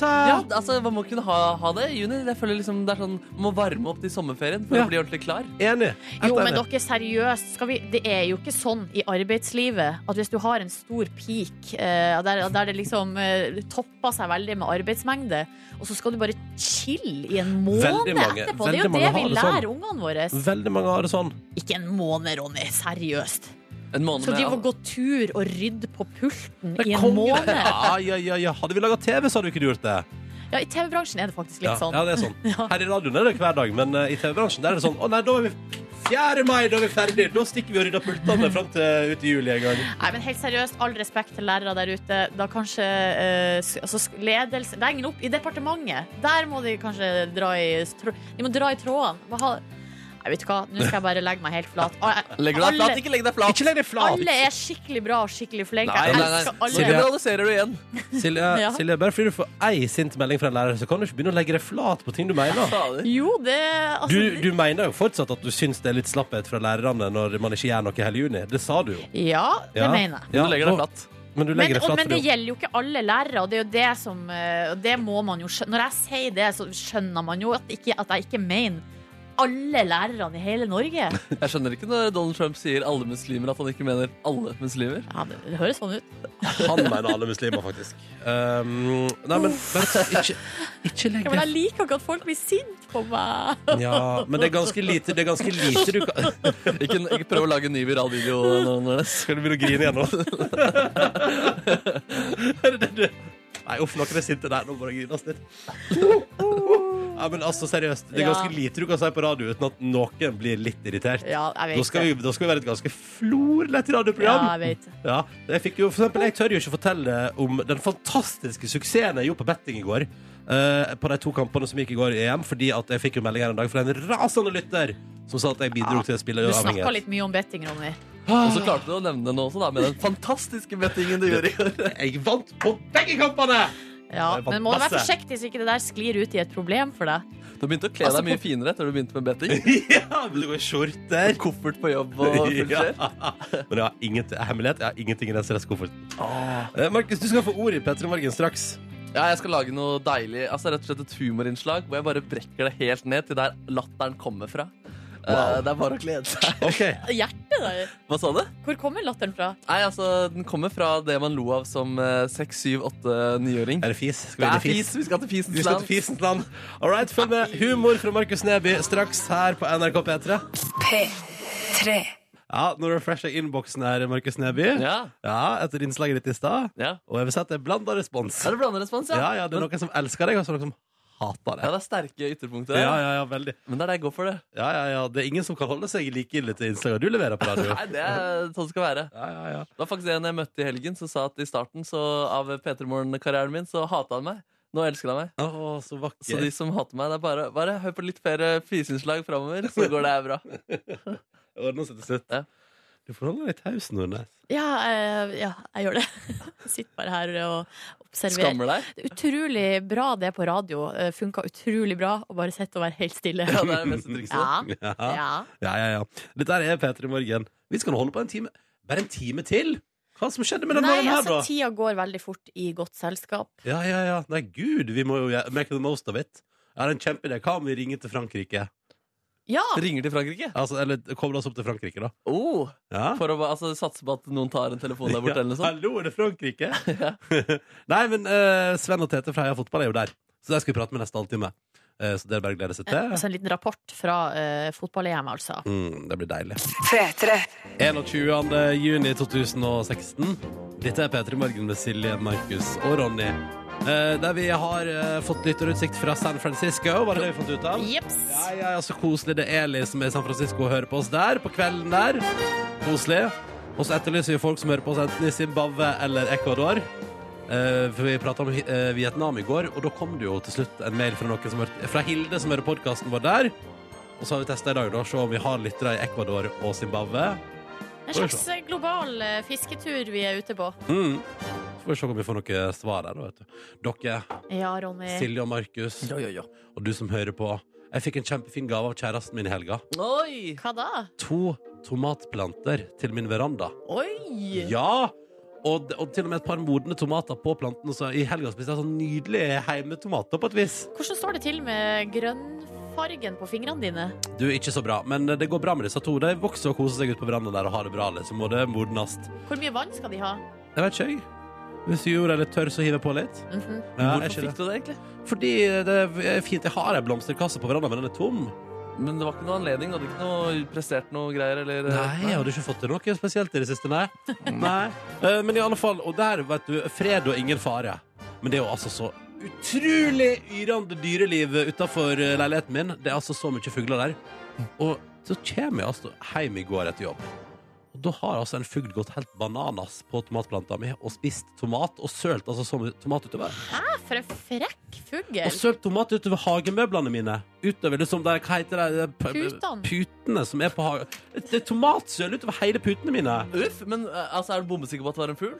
Ja, altså, man må kunne ha, ha det i juni. Jeg føler liksom det er sånn, Man må varme opp til sommerferien for
Ja.
å bli ordentlig klar.
Enig.
Jo,
Helt
men
enig.
dere, seriøst. Skal vi, det er jo ikke sånn i arbeidslivet at hvis du har en stor peak, eh, der, der det liksom eh, topper seg veldig med arbeidsmengde, og så skal du bare chille i en måned
Veldig mange-
etterpå. Det er
veldig
jo
mange
det
har
vi
det sånn.
lærer ungene våre.
Veldig mange har det sånn.
Ikke en måned, Ronny. Seriøst.
En måned
Skal drive og
med
gå tur og rydde på pulten
Det er
i en
konge.
måned.
Ja, ja, ja, ja. Hadde vi laga TV, så hadde vi ikke gjort det.
Ja, I TV-bransjen er det faktisk litt
Ja,
sånn.
ja, det er sånn. Her i radioen er det hver dag, men eh, i TV-bransjen der er det sånn Å nei, da er vi 4. mai, da er vi ferdig. Da stikker vi og rydder pultene fram til ut i juli en gang.
Nei, men helt seriøst, all respekt til lærere der ute. Da kanskje eh, s- altså, sk- ledelse Det henger opp i departementet. Der må de kanskje dra i strå- De må dra i trådene. Hva ha- Nei, vet du hva, nå skal jeg bare legge meg helt flat. Ah, jeg-
Legg deg flat,
Alle,
ikke legg deg flat!
Ikke legg deg flat.
alle er skikkelig bra og skikkelig flinke.
Nei,
Jeg
nei, nei.
elsker
Nå
Silje.
alle.
generaliserer du igjen.
Silje,
Ja.
Silje, bare fordi du får ei sint melding fra en lærer, så kan du ikke begynne å legge deg flat på ting du mener.
Fader.
Jo, det altså,
Du, du mener jo fortsatt at du syns det er litt slapphet fra lærerne når man ikke gjør noe i hele juni. Det sa du jo.
Ja, det
Ja.
mener jeg.
Du legger
nå-
deg flat.
Men du
Men,
legger deg
og,
flat
men det
fordi
gjelder jo ikke alle lærere, og det er jo det som eh, og Det må man jo skjønne. Når jeg sier det, så skjønner man jo at, ikke, at jeg ikke mener alle lærerne i hele Norge.
Jeg skjønner ikke når Donald Trump sier alle muslimer, at han ikke mener alle muslimer.
Ja, det, det høres sånn ut.
han mener alle muslimer, faktisk. Um, nei, men bare, ikke, ikke legg
Men
deg
jeg liker ikke at folk blir sint på meg.
ja, Men det er ganske lite, det er ganske lite du kan
Ikke, ikke prøv å lage en ny viral video. nå, Nordnes.
Skal du begynne å grine igjen nå? er det det du Nei, uff, noen er sinte der. Nå må det grines litt. Ja, men altså, seriøst. Det er
Ja.
ganske lite du kan si på radio uten at noen blir litt irritert.
Ja, jeg vet
Da skal,
det.
vi, da skal vi være et ganske florlett
Ja,
radioprogram.
jeg vet det.
Ja, jeg, fikk jo, for eksempel, jeg tør jo ikke fortelle om den fantastiske suksessen jeg gjorde på betting i går. eh, på de to kampene som gikk i går i EM, fordi at jeg fikk jo melding her en dag fra en rasende lytter som sa at jeg bidro til å spille
Du snakka
uavhengighet.
litt mye om betting, Ronny.
Og så klarte du å nevne den også, da, med den fantastiske bettingen du gjorde i går.
Jeg vant på begge kampene!
Ja,
Det var
men må du være
masse.
forsiktig så ikke det der sklir ut i et problem for deg.
Du begynte å kle
Altså,
deg mye finere etter du begynte med betting.
ja, vil du gå i skjorter?
Koffert på jobb og full
Ja.
skjer.
Men jeg har ingenting, hemmelighet, jeg har ingenting i den stresskofferten. Eh, Markus, du skal få ordet i Petter i Morgen straks.
Ja, jeg skal lage noe deilig, altså rett og slett et humorinnslag hvor jeg bare brekker det helt ned til der latteren kommer fra. Eh, det er bare å glede seg.
Ok,
Hjertet der.
Hva sa du?
Hvor kommer latteren fra?
Nei, altså, den kommer fra det man lo av som eh, 6, 7, 8, 9-åring.
er det fis? Skal
Det
vi inn i
er fis!
fis?
Vi skal til
Vi
fisens
skal til
land.
fisens land. All right, følg med humor fra Markus Neby straks her på NRK P3.
P3.
Ja, Nå refresher jeg innboksen her, Markus Neby.
Ja,
Ja, etter innslaget ditt i stad.
ja.
Og jeg vil si at det er blanda respons.
Er det blanderespons,
Ja, ja, Det er noen som elsker deg, og så er det noen som hater deg.
Ja, det er sterke ytterpunkter.
Ja, ja, ja, veldig.
Men det er det jeg går for, det.
Ja, ja, ja. Det er ingen som kan holde seg like ille til innslaget du leverer på radio.
Nei, det er sånn det skal være.
Ja, ja, ja.
Det var faktisk en jeg møtte i helgen, som sa at i starten så, av P3 Morgen-karrieren min, så hata han meg. Nå elsker han meg.
Å, så vakker.
Så de som hater meg, det er bare, bare hør på litt flere fiseinnslag framover, så går det her bra.
Det ordner seg til slutt.
Ja.
Du får holde deg taus, Nordnes.
Ja, eh, ja, jeg gjør det. Sitter bare her og observerer.
Skammer deg.
Det er utrolig bra det på radio. eh, Funka utrolig bra å bare sitte og være helt stille.
Ja, det er det beste trikset.
Ja,
Ja, ja,
ja.
ja. ja. Dette her er P3 Morgen. Vi skal nå holde på en time. Bare en time til? Hva som skjedde med den
Nei,
morgenen her,
altså,
da?
tida går veldig fort i godt selskap.
Ja, ja, ja. Nei, gud, vi må jo gjøre- make the most of it. Jeg har en kjempeidé. Hva om vi ringer til Frankrike?
Ja!
Ringer til Frankrike.
Altså, eller kobler oss opp til Frankrike, da.
Oh,
Ja.
for å ba- altså, satse på at noen tar en telefon der borte,
Ja,
eller noe sånt.
Hallo, er det Frankrike? Nei, men eh, Sven og Tete fra Heia Fotball er jo der. Så der skal vi prate med nesten halvtime. Eh, så det er bare å glede seg til.
Altså en liten rapport fra eh, fotball-EM, altså.
Mm, det blir deilig. 21. juni 2016. Dette er P3 Morgen med Silje, Markus og Ronny. Eh, der vi har eh, fått lytterutsikt fra San Francisco, var det det vi fant ut av?
Jeps!
Ja, ja, ja, så koselig. Det er Eli som er i San Francisco og hører på oss der på kvelden der. Koselig. Og så etterlyser vi folk som hører på oss enten i Zimbabwe eller Ecuador. Eh, for vi prata om eh, Vietnam i går, og da kom det jo til slutt en mail fra, noen som hørte, fra Hilde som hører podkasten vår der. Og så har vi testa i dag, da, se om vi har lyttere i Ecuador og Zimbabwe.
En slags
sånn.
global eh, fisketur vi er ute på.
Mm. Så får vi se om vi får noe svar her, da, vet du. Dere,
Ja, Ronny.
Silje og Markus,
Jo, jo, jo.
og du som hører på. Jeg fikk en kjempefin gave av kjæresten min i helga.
Oi!
Hva da?
To tomatplanter til min veranda.
Oi!
Ja! Og, og til og med et par modne tomater på planten. Så I helga spiste jeg sånn nydelige heimetomater på et vis.
Hvordan står det til med grønnfargen på fingrene dine?
Du, ikke så bra, men eh, det går bra med disse to. De vokser og koser seg ute på verandaen der og har det bra. liksom, og det modnes.
Hvor mye vann skal de ha?
Jeg vet ikke, jeg. Hvis du gjorde det litt tørr, så hiver jeg på litt.
Mhm.
Ja, jeg
Hvorfor
skjønner.
fikk du det, egentlig?
Fordi det er fint. Jeg har ei blomsterkasse på verandaen, men den er tom.
Men det var ikke noe anledning? Du hadde ikke noe prestert noe greier? Eller, eh,
Nei, jeg hadde ikke fått til noe spesielt i det siste, nei. nei. Eh, Men i alle fall, og der, vet du, fred og ingen fare. Men det er jo altså så utrolig yrende dyreliv utafor leiligheten min. Det er altså så mye fugler der. Og så kommer jeg altså hjem i går etter jobb. Og da har altså en fugl gått helt bananas på tomatplanta mi og spist tomat og sølt altså så mye tomat utover.
Hæ, for en frekk
Og
fugl!
sølt tomat utover hagemøblene mine. Utover liksom der, hva heter det? P-
Putene.
Putene som er på hagen. Det er tomatsøl utover hele putene mine.
Uff, men eh, altså, er du bombesikker på at det var en fugl?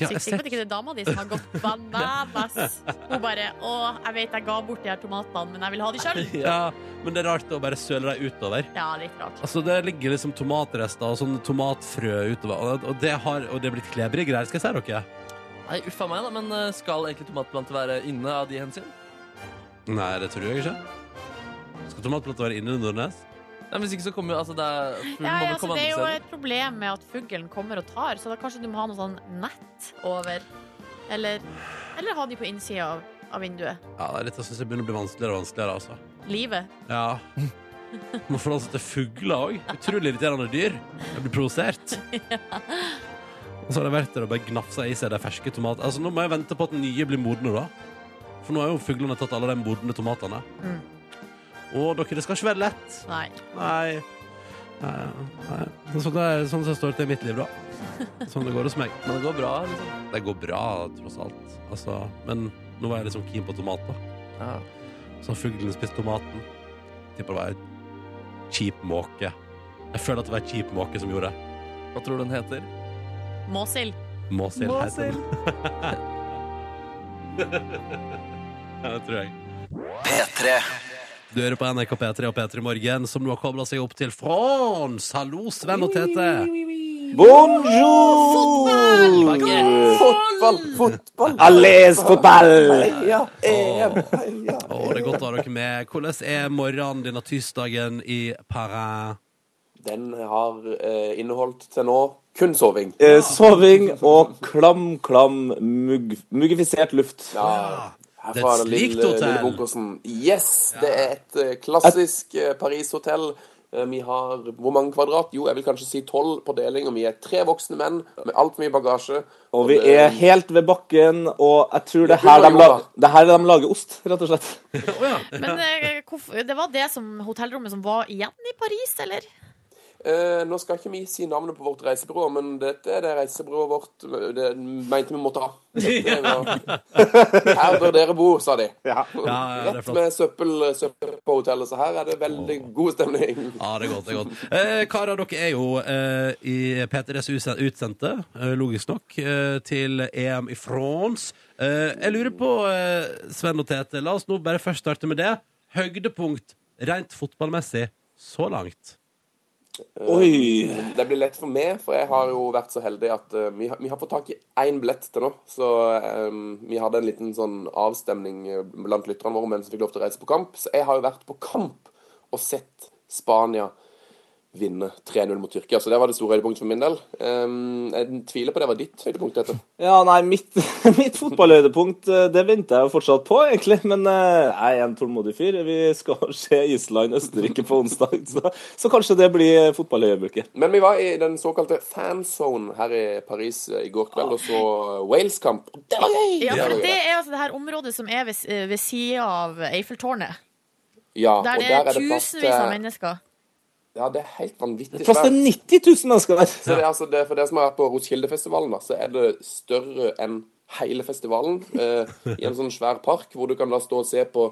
Ja,
Sikker
jeg
sikker på at
ser-
ikke det er dama di som har gått bananas. Hun bare 'Å, jeg vet jeg ga bort de her tomatene, men jeg vil ha de sjøl'.
ja, men det er rart å bare søle deg utover.
Ja, litt rart.
Altså, Det ligger liksom tomatrester og sånn tomatfrø utover. Og- Og det, har, og det er blitt klebrige greier, skal jeg si dere.
Nei, uff a meg, da. Men eh, skal egentlig tomatplanter være inne av de hensyn?
Nei, det tror jeg ikke. Skal tomatplanter være inne under Nordnes?
Nei, men Hvis ikke så kommer jo altså, det er fuglen
Ja,
må
ja,
vel
altså,
komme
det er jo
andre steder.
et problem med at fuglen kommer og tar, så da kanskje du må ha noe sånn nett over. Eller, eller ha de på innsida av, av vinduet.
Ja, det er Dette syns jeg begynner å bli vanskeligere og vanskeligere. altså.
Livet.
Ja. Må forholde seg til fugler òg. Utrolig irriterende dyr. Jeg blir provosert. Og så har det vært der og bare gnafsa i seg de ferske tomatene. Altså, nå må jeg vente på at den nye blir modne, da. For nå har jo fuglene tatt alle de modne tomatene.
Mm.
Og dere, det skal ikke være lett.
Nei.
Nei. Nei, nei. Sånn, det er, sånn som det står til i mitt liv, da. Sånn det går hos meg.
Men det går bra, liksom.
Det går bra, tross alt. Altså, men nå var jeg liksom keen på tomat, da.
Ja.
Så har fuglen spist tomaten. Tipper det var en kjip måke. Jeg føler at det var en kjip måke som gjorde det.
Hva tror du den heter?
Måsild.
Måsild heter den.
Måsild.
Ja, det tror jeg. Du hører på NRK P3 og P3 Morgen, som nå har kobla seg opp til France. Hallo, Sven og Tete.
Bonjour! Fotball, fotball. Alles fotball! Ja, EM. Ja.
Å, det er godt å ha dere med. Hvordan er morgenen denne tirsdagen i Paris?
Den har eh, inneholdt til nå kun soving.
Eh, Soving og klam, klam, mugg, muggifisert luft.
Det
Ja.
er et
Herfra er det
slikt
lille,
hotell.
lille bunkersen. Yes! Det er et eh, klassisk eh, Paris-hotell. Eh, Vi har hvor mange kvadrat? Jo, jeg vil kanskje si tolv på deling. Og vi er tre voksne menn med altfor mye bagasje.
Og vi
det-
er helt ved bakken, og jeg tror det
Ja,
her
det var
de,
jo
la, det her de lager ost, rett og slett.
Men eh, hvorfor- det var det som hotellrommet som var igjen i Paris, eller?
Eh, nå skal ikke vi si navnet på vårt reisebyrå, men dette er det reisebyrået vårt eh, det mente vi måtte ha. Det var- Her bør dere bo, sa de.
Ja, ja, det er
Rett
flott.
med søppel, søppel på hotellet, så her er det veldig god stemning.
Ja, det er godt. det er godt. Eh, karer, dere er jo eh, i P3s usen- utsendte, eh, logisk nok, eh, til EM i France. Eh, jeg lurer på, eh, Sven og Tete, la oss nå bare først starte med det. Høydepunkt rent fotballmessig så langt.
Oi!
Det blir lett for meg, for jeg har jo vært så heldig at eh, vi, har- vi har fått tak i én billett til nå. Så eh, vi hadde en liten sånn avstemning eh, blant lytterne våre mens vi fikk lov til å reise på kamp. Så jeg har jo vært på kamp og sett Spania vinne 3-0 mot Tyrkia. Så det var det store høydepunktet for min del. Eh, jeg tviler på det var ditt høydepunkt, dette.
Ja, nei, mitt, mitt fotballhøydepunkt, eh, det venter jeg jo fortsatt på, egentlig. Men eh, jeg er en tålmodig fyr. Vi skal se Island-Østerrike på onsdag, så, så kanskje det blir fotballhøyeblikket.
Men vi var i den såkalte fanzone her i Paris eh, i går kveld og så eh, Wales-kamp. Og det var gøy!
Ja,
Det
for
var gøy.
det er altså det her området som er ved, s- ved sida av Eiffeltårnet.
Ja,
Der
og
det er
der er det plass
tusenvis av
til
mennesker.
Ja, det er helt vanvittig
Plass til 90 000 mennesker der.
Så det er altså det, For dere som har vært på Roskilde-festivalen, da, så er det større enn hele festivalen. Eh, I en sånn svær park hvor du kan da stå og se på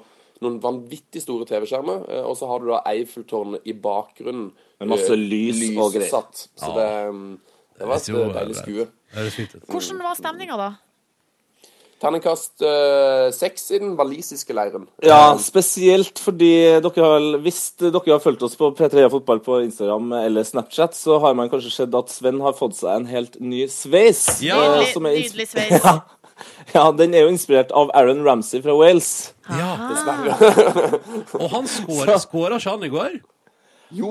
noen vanvittig store TV-skjermer. Eh, og så har du da Eiffeltårnet i bakgrunnen.
Med masse
eh,
lys og greier.
lyssatt. Så det, mm, det var et
Det er jo-
eh, deilig skue.
Det høres fint ut.
Hvordan var stemninga da?
Terningkast eh, seks i den walisiske leiren.
Ja, spesielt fordi dere har, hvis dere har fulgt oss på P3 Fotball på Instagram eller Snapchat, så har man kanskje sett at Sven har fått seg en helt ny sveis.
Ja.
eh, som er ins-
Nydelig sveis.
Ja. ja, den er jo inspirert av Aaron Ramsey fra Wales.
Ja, Og han
Så-
skåra ikke han i går?
Jo,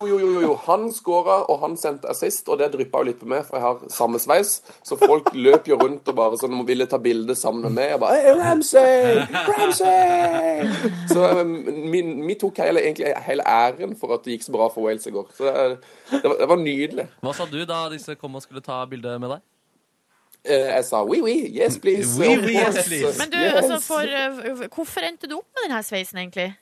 jo, jo, jo, jo. Han skåra, og han sendte assist, og det dryppa jo litt på meg, for jeg har samme sveis. Så folk løp jo rundt og bare sånn ville ta bilde sammen med meg. Og bare «Hey, Ramsey! Ramsey! Så um, vi, vi tok hele, egentlig hele æren for at det gikk så bra for Wales i går. Så det, det, var, det var nydelig.
Hva sa du da disse kom og skulle ta bilde med deg?
Eh, Jeg sa oui, oui, yes, please.
Oui,
of
oui, yes,
course.
please.
Men du,
Yes.
altså, for, eh, hvorfor endte du opp med denne sveisen, egentlig?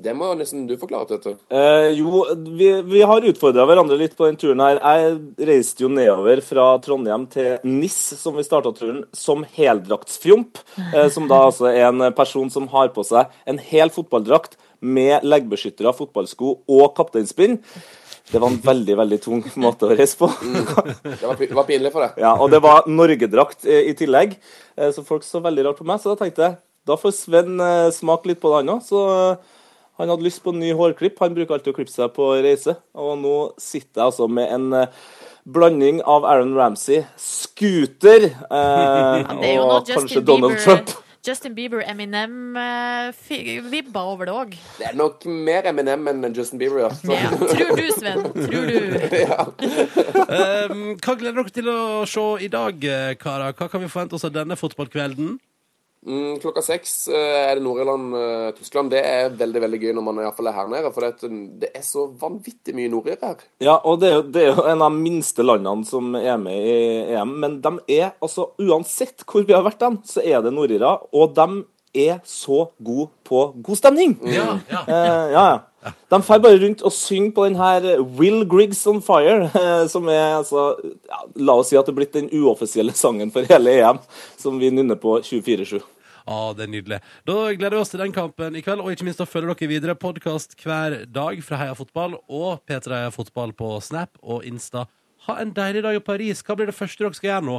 Det må nesten du forklare, Tete.
Eh, jo, vi, vi har utfordra hverandre litt på den turen her. Jeg reiste jo nedover fra Trondheim til NIS, som vi starta turen, som heldraktsfjomp. eh, som da altså er en person som har på seg en hel fotballdrakt med leggbeskyttere, fotballsko og kapteinspinn. Det var en veldig, veldig tung måte å reise på.
Det var, pi- det var pinlig for deg.
Ja, og det var Norgedrakt eh, i tillegg, eh, så folk så veldig rart på meg. Så da tenkte jeg da får Sven eh, smake litt på det, han òg. Så eh, han hadde lyst på en ny hårklipp. Han bruker alltid å klippe seg på reise. Og nå sitter jeg altså med en eh, blanding av Aaron Ramsey, Scooter eh,
Det er jo noe
og kanskje
Justin
Donald Trump.
Bieber, Justin Bieber Eminem-vibba over det òg.
Det er nok mer Eminem enn Justin Bieber. Ja. Så,
Ja. Tror du, Sven. Tror du.
Um, hva gleder dere til å se i dag, eh, karer? Hva kan vi forvente oss av denne fotballkvelden?
Mm, Klokka seks eh, er det Nord-Irland-Tyskland. Det er veldig veldig gøy når man i hvert fall er her nede. For det, at det er så vanvittig mye nordirer her.
Ja, og det er, jo, det er jo en av de minste landene som er med i EM, men de er altså Uansett hvor vi har vært dem, så er det nordirer, og de er så gode på god stemning.
Mm. Ja, ja.
Eh, ja, ja. De fer bare rundt og synger på den her Will Griggs on Fire, eh, som er altså ja, La oss si at det er blitt den uoffisielle sangen for hele EM, som vi nynner på 24-7.
Ja, det er nydelig. Da gleder vi oss til den kampen i kveld, og ikke minst da følger dere videre podkast hver dag fra Heia Fotball og P3 Heia Fotball på Snap og Insta. Ha en deilig dag i Paris. Hva blir det første dere skal gjøre nå?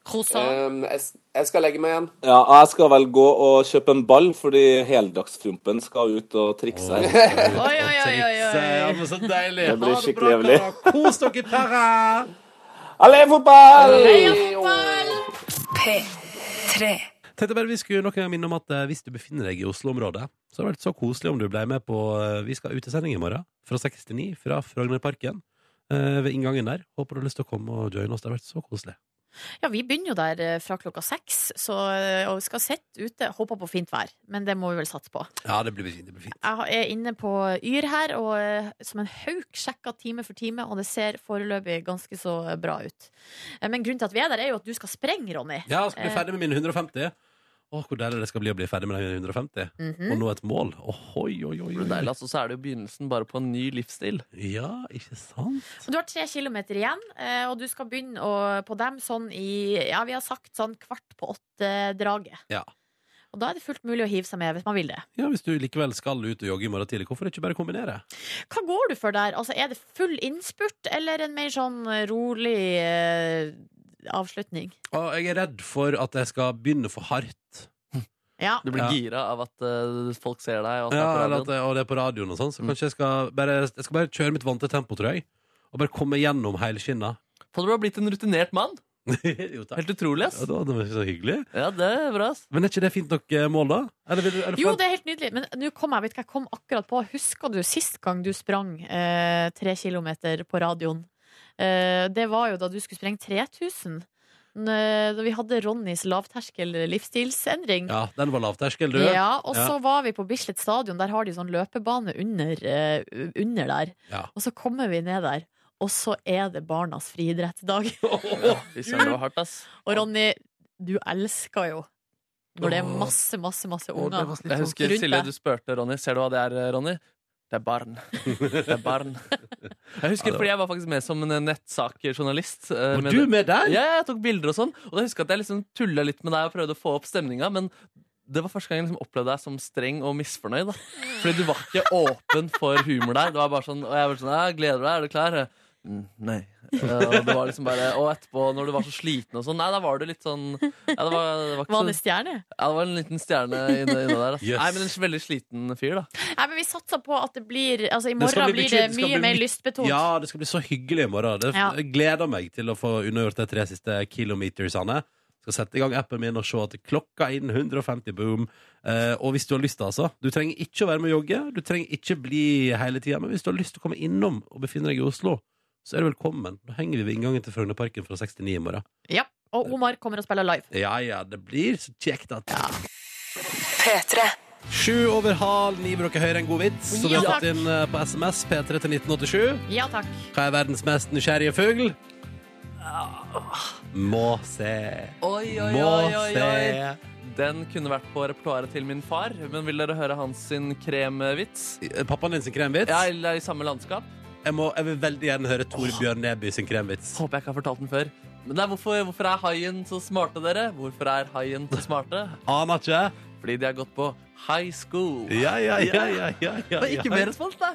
Croissant.
Um, jeg, s- jeg skal legge meg igjen.
Ja, jeg skal vel gå og kjøpe en ball, fordi heldagsfrumpen skal ut og trikse. her.
Oi, oi, oi, oi,
Trikse. Ja,
oi.
men så deilig.
Det blir
Ha det bra,
skikkelig jævlig.
karer. Kos dere i Paris.
Allé, fotball!
Heia fotball!
P3
Tenkte bare vi skulle nok en gang minne om at eh, Hvis du befinner deg i Oslo-området, så hadde det vært så koselig om du ble med på eh, Vi skal ha utesending i morgen fra 69 fra Frognerparken. eh, Ved inngangen der. Håper du har lyst til å komme og joine oss. Det har vært så koselig.
Ja, vi begynner jo der eh, fra klokka seks, så, eh, og vi skal sitte ute. Håper på fint vær, men det må vi vel satse på.
Ja, det blir fint. Det blir fint.
Jeg har- er inne på Yr her, og eh, som en hauk sjekka time for time, og det ser foreløpig ganske så bra ut. Eh, Men grunnen til at vi er der, er jo at du skal sprenge, Ronny.
Ja, skal bli ferdig med mine 150. Å, hvor deilig det skal bli å bli ferdig med de 150.
Mhm.
Og nå et mål. Ohoi, oi, oi,
Det blir
oi.
deilig, altså, så er det jo begynnelsen bare på en ny livsstil.
Ja, ikke sant?
Du har tre kilometer igjen, eh, og du skal begynne å, på dem sånn i Ja, vi har sagt sånn kvart på åtte-draget.
Ja.
Og da er det fullt mulig å hive seg med hvis man vil det.
Ja, Hvis du likevel skal ut og jogge i morgen tidlig, hvorfor ikke bare kombinere?
Hva går du for der? Altså, er det full innspurt, eller en mer sånn eh, rolig eh, avslutning?
Og jeg er redd for at jeg skal begynne for hardt.
Ja.
Du blir
Ja.
gira av at eh, folk ser deg. Og at det er på
Ja, eller
radioen.
at, det- og det er på radioen og sånn. Så kanskje jeg skal bare, jeg skal bare kjøre mitt vante tempo, tror jeg. Og bare komme gjennom helskinna.
Faen, du har blitt en rutinert mann.
jo, takk.
Helt utrolig, ass.
Ja, da, det var ikke så hyggelig.
Ja, det er bra, ass.
Men er ikke det fint nok eh, mål, da? Eller vil, du- eller
Jo,
forvent-
det er helt nydelig. Men nå kom jeg, vet ikke, jeg kom akkurat på. Husker du sist gang du sprang eh, tre kilometer på radioen? Eh, det var jo da du skulle sprenge 3000. N- eh, Da vi hadde Ronnys lavterskel livsstilsendring.
Ja, den var lavterskel, du.
Ja, og
Ja.
så var vi på Bislett stadion. Der har de sånn løpebane under, eh, under der.
Ja.
Og så kommer vi ned der, og så er det barnas friidrettsdag.
Ja, Fy søren, det var hardt, ass.
Og Ronny, du elsker jo når det er masse, masse, masse unger rundt
Jeg husker Silje,
deg.
du spurte Ronny. Ser du hva det er, eh, Ronny? Det er barn. Det er barn. Jeg
Ja,
husker,
det
fordi jeg var faktisk med som en eh, nettsakerjournalist. eh,
Var
med-
du med der?
Ja, jeg tok bilder og sånn. Og da husker jeg at jeg liksom tulla litt med deg og prøvde å få opp stemninga, men det var første gang jeg liksom opplevde deg som streng og misfornøyd. da Fordi du var ikke åpen for humor der. Det var bare sånn, Og jeg var sånn ja, 'Gleder du deg? Er du klar?' Mm, nei. Eh, Og det var liksom bare Og etterpå, når du var så sliten og sånn, nei, da var du litt sånn ja, det, var, det,
Var han
var ikke
sånn.
en
så,
stjerne?
ja, det var en liten stjerne inne, inne der. Altså.
Yes.
Nei, men en veldig sliten fyr, da.
Nei, men Vi satser på at det blir Altså I
Det skal
morgen
bli mye-
blir det
det skal
mye
bli
mer
mye-
lystbetont.
Ja, det skal bli så hyggelig i morgen. Det,
Ja.
Jeg gleder meg til å få unnagjort de tre siste kilometersene. Skal sette i gang appen min og se at klokka er innen 150 boom. Eh, og hvis du har lyst, altså. Du trenger ikke å være med og jogge. Du trenger ikke bli hele tida. Men hvis du har lyst til å komme innom og befinne deg i Oslo, så er du velkommen. Da henger vi ved inngangen til Frognerparken fra 69 i morgen.
Ja. Og Omar kommer og spiller live.
Ja ja, det blir så kjekt at Sju over halv ni vil dere høre en god vits som vi har
Ja,
fått
takk.
inn eh, på SMS P3 til 1987.
Ja takk.
Hva er verdens mest nysgjerrige fugl? Må se.
Oi, oi,
Må
oi, oi, oi.
se.
Den kunne vært på repertoaret til min far, men vil dere høre hans sin kremvits?
Pappaen din sin kremvits?
Ja, eller i samme landskap?
Jeg, må, jeg vil veldig gjerne høre Torbjørn Neby sin kremvits.
Håper jeg ikke har fortalt den før. Men det er hvorfor, hvorfor er haien så smarte, dere? Hvorfor er haien så smarte?
Aner ikke.
Fordi de har gått på high school.
Ja, ja, ja, ja, ja, ja,
Men ikke
ja.
mer respons, da!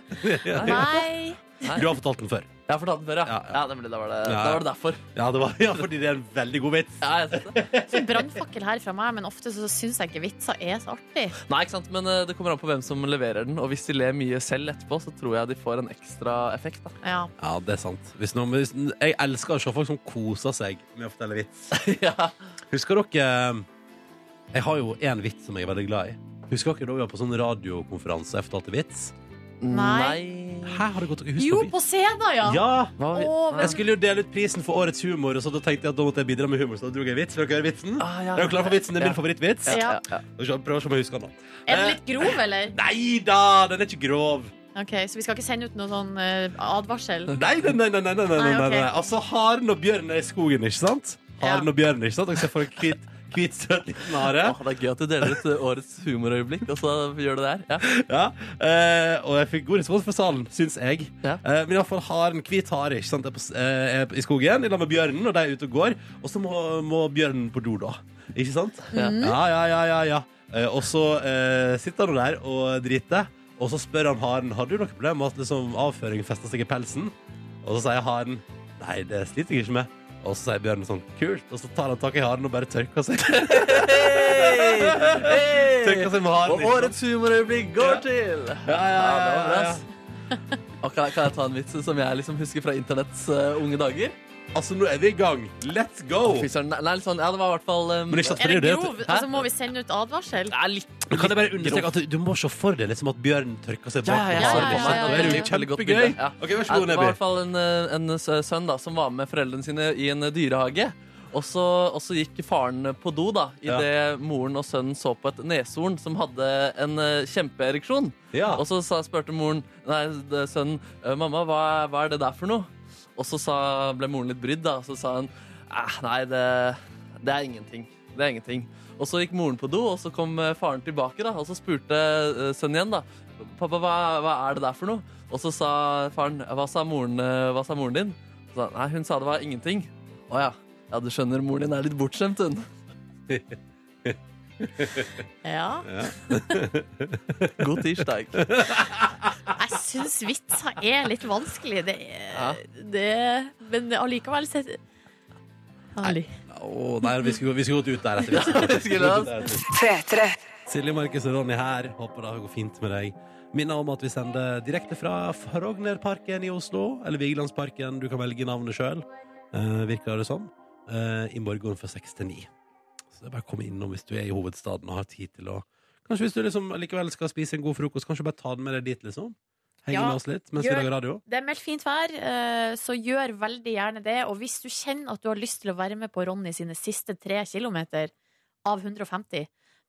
Nei.
Nei.
Du har fortalt den før.
Jeg har fortalt den før, ja.
Ja,
ja,
ja.
det ble, da, var det,
Ja, ja.
da var det derfor.
Ja, det var, ja, fordi det er en veldig god vits.
Ja, jeg synes det.
Så brannfakkel her fra meg, men ofte så syns jeg ikke vitser er så artig.
Nei, ikke sant, men eh, det kommer an på hvem som leverer den. Og hvis de ler mye selv etterpå, så tror jeg de får en ekstra effekt. da
Ja.
Ja, det er sant. Hvis noen, hvis, jeg elsker å se folk som koser seg med å fortelle vits.
ja.
Husker dere eh, Jeg har jo en vits som jeg er veldig glad i. Husker dere da vi var på sånn radiokonferanse og jeg fortalte vits?
Nei.
Hæ, har det gått dere husker
Jo,
vi-
på scenen, ja!
Ja!
Hva var vi-
Å, men-
Jeg skulle jo dele ut prisen for årets humor, og så da tenkte jeg at da måtte jeg bidra med humor. Så da dro jeg en vits. Vil dere høre vitsen?
Ah, ja.
Er dere klare for vitsen? Det er min
Ja.
favorittvits.
Ja.
Skal vi se- Prøv å se om jeg husker den. nå.
Er den litt grov, eller?
Nei da! Den er ikke grov.
Ok, Så vi skal ikke sende ut noen sånn eh, advarsel?
Nei, nei, nei. nei, nei, nei, nei,
Nei,
nei,
ok.
nei. Altså, haren og bjørnen er i skogen, ikke sant? Haren
Ja.
og bjørnen, ikke sant? Dere ser for dere hvit, hvit, søt liten hare.
Åh, det er gøy at du deler ut eh, årets humorøyeblikk, og så gjør du det her. Ja.
Ja, eh, og jeg fikk god respons fra salen, syns jeg.
Ja.
Eh, men iallfall haren, hvit hare, ikke sant, er, på, s- eh, er i skogen i lag med bjørnen, og de er ute og går. Og så må, må bjørnen på do, da. Ikke sant?
Ja.
Ja, ja, ja, ja, ja. Eh, og så eh, sitter han der og driter, og så spør han haren Har du noe problem med at liksom, avføring fester seg i pelsen. Og så sier haren Nei, det sliter jeg ikke med. Og så sier bjørnen sånn Kult. Og så tar han tak i haren og bare tørker seg. tørker seg med haren.
Og
liksom.
årets humorøyeblikk går til
Ja, ja,
Ja, det
ja,
var bra, ass. Og kan, kan jeg ta en vits som jeg liksom husker fra internetts eh, unge dager?
Altså, nå er vi i gang. Let's go!
Fy søren, nei, nei, sånn, ja, det var i hvert fall um,
Oh. Men ikke sant, for
Er det
det er jo det at-
grov? Altså, må vi sende ut advarsel?
det er litt
Men Kan jeg bare understreke at du- du må se for deg liksom at bjørnen tørker seg
Ja,
bak
ja,
ja,
haren,
ja,
ikke sant?
ja, ja,
Da er det jo
ja. Veldig godt
kjempegøy.
bilde, ja.
Ok, Vær så
Nei,
god,
Det var i
Neby.
hvert fall en, eh, en s- sønn da, som var med foreldrene sine i en eh, dyrehage. Og så, og så gikk faren på do da
Ja.
idet moren og sønnen så på et neshorn som hadde en eh, kjempeereksjon.
Ja.
Og så sa, spurte moren Nei, det- sønnen «Eh, Mamma, hva, er- hva er det der for noe? Og så sa, ble moren litt brydd da Og så sa hun «Eh, Nei, det, det er ingenting Det er ingenting Og så gikk moren på do Og så kom eh, faren tilbake da Og så spurte eh, sønnen igjen da Pappa, hva, hva er det der for noe? Og så sa faren Hva sa moren, eh, hva sa moren din? Så sa, han, Nei, hun sa det var ingenting Åja, ja, du skjønner Moren din er litt bortskjemt hun
Ja.
God tirsdag
Jeg syns vitser er litt vanskelig. Det
Ja.
er, det, men allikevel så Ali.
Å, nei, vi skulle, vi skulle gått ut der etter hvert.
vi skulle det.
Silje, Markus og Ronny her. Håper det går fint med deg. Minner om at vi sender direkte fra Frognerparken i Oslo. Eller Vigelandsparken, du kan velge navnet sjøl. virker det som. Eh, I morgen fra seks til ni. Så det er bare å komme innom hvis du er i hovedstaden og har tid til å Kanskje hvis du liksom likevel skal spise en god frokost, kanskje bare ta den med deg dit, liksom? Henge
Ja,
med oss litt mens vi
gjør-
lager radio?
Det er meldt fint vær, eh, så gjør veldig gjerne det. Og hvis du kjenner at du har lyst til å være med på Ronny sine siste tre kilometer av 150,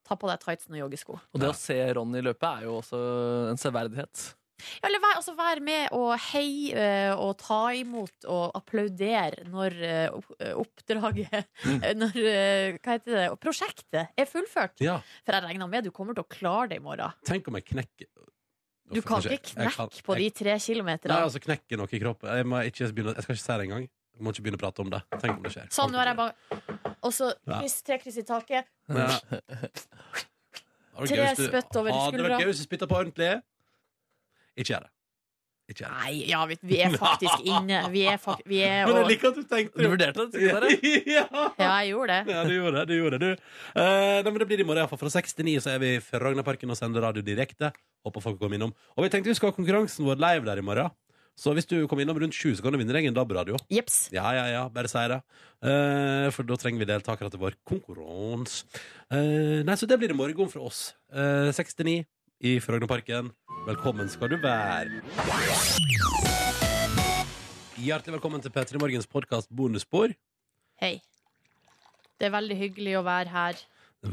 ta på deg tightsen og joggesko.
Og det å se Ronny løpe er jo også en severdighet
Ja, eller vær, altså, vær med og hei eh, og ta imot og applaudere når eh, opp- eh, oppdraget Når eh, hva heter det, prosjektet er fullført.
Ja.
For jeg regner med du kommer til å klare det i morgen.
Tenk om jeg knekker
Du kan
Kanskje-
ikke
jeg kan-
knekke på de
jeg-
tre kilometerne.
Nei, altså knekke noe i kroppen. Jeg, må ikke begynne, jeg skal ikke si det engang. Jeg må ikke begynne å prate om det. Tenk om det skjer.
Sånn, nå er jeg bare Og så
Ja.
kryss, tre kryss i taket.
Ja. Har du
Tre
gøy hvis du-
spytt over
Har
skuldra.
dere gøy hvis du spytter på ordentlig? Ikke gjør det. Ikke gjør det.
Nei, ja, vi, vi er faktisk inne. Vi er, fak vi er
Men jeg
og
liker at du tenkte
Du vurderte det, skulle dere?
ja.
Ja, jeg gjorde det.
ja, du gjorde det. Du gjorde det, du. Eh, nei, men det blir i morgen. i hvert fall. Fra 69 så er vi i Frognerparken og sender radio direkte. Håper folk kommer innom. Og vi tenkte vi skal ha konkurransen vår live der i morgen. Så hvis du kommer innom rundt 20, så kan du vinne deg en DAB-radio.
Jips.
Ja, ja, ja, bare si det. Eh, for da trenger vi deltakere til vår konkurranse. Eh, nei, så det blir det morgen fra oss. Eh, 69 i Frognerparken. Velkommen skal du være. Hjertelig velkommen til P3 Morgens podkast Bonusspor.
Hei. Det er veldig hyggelig å være her.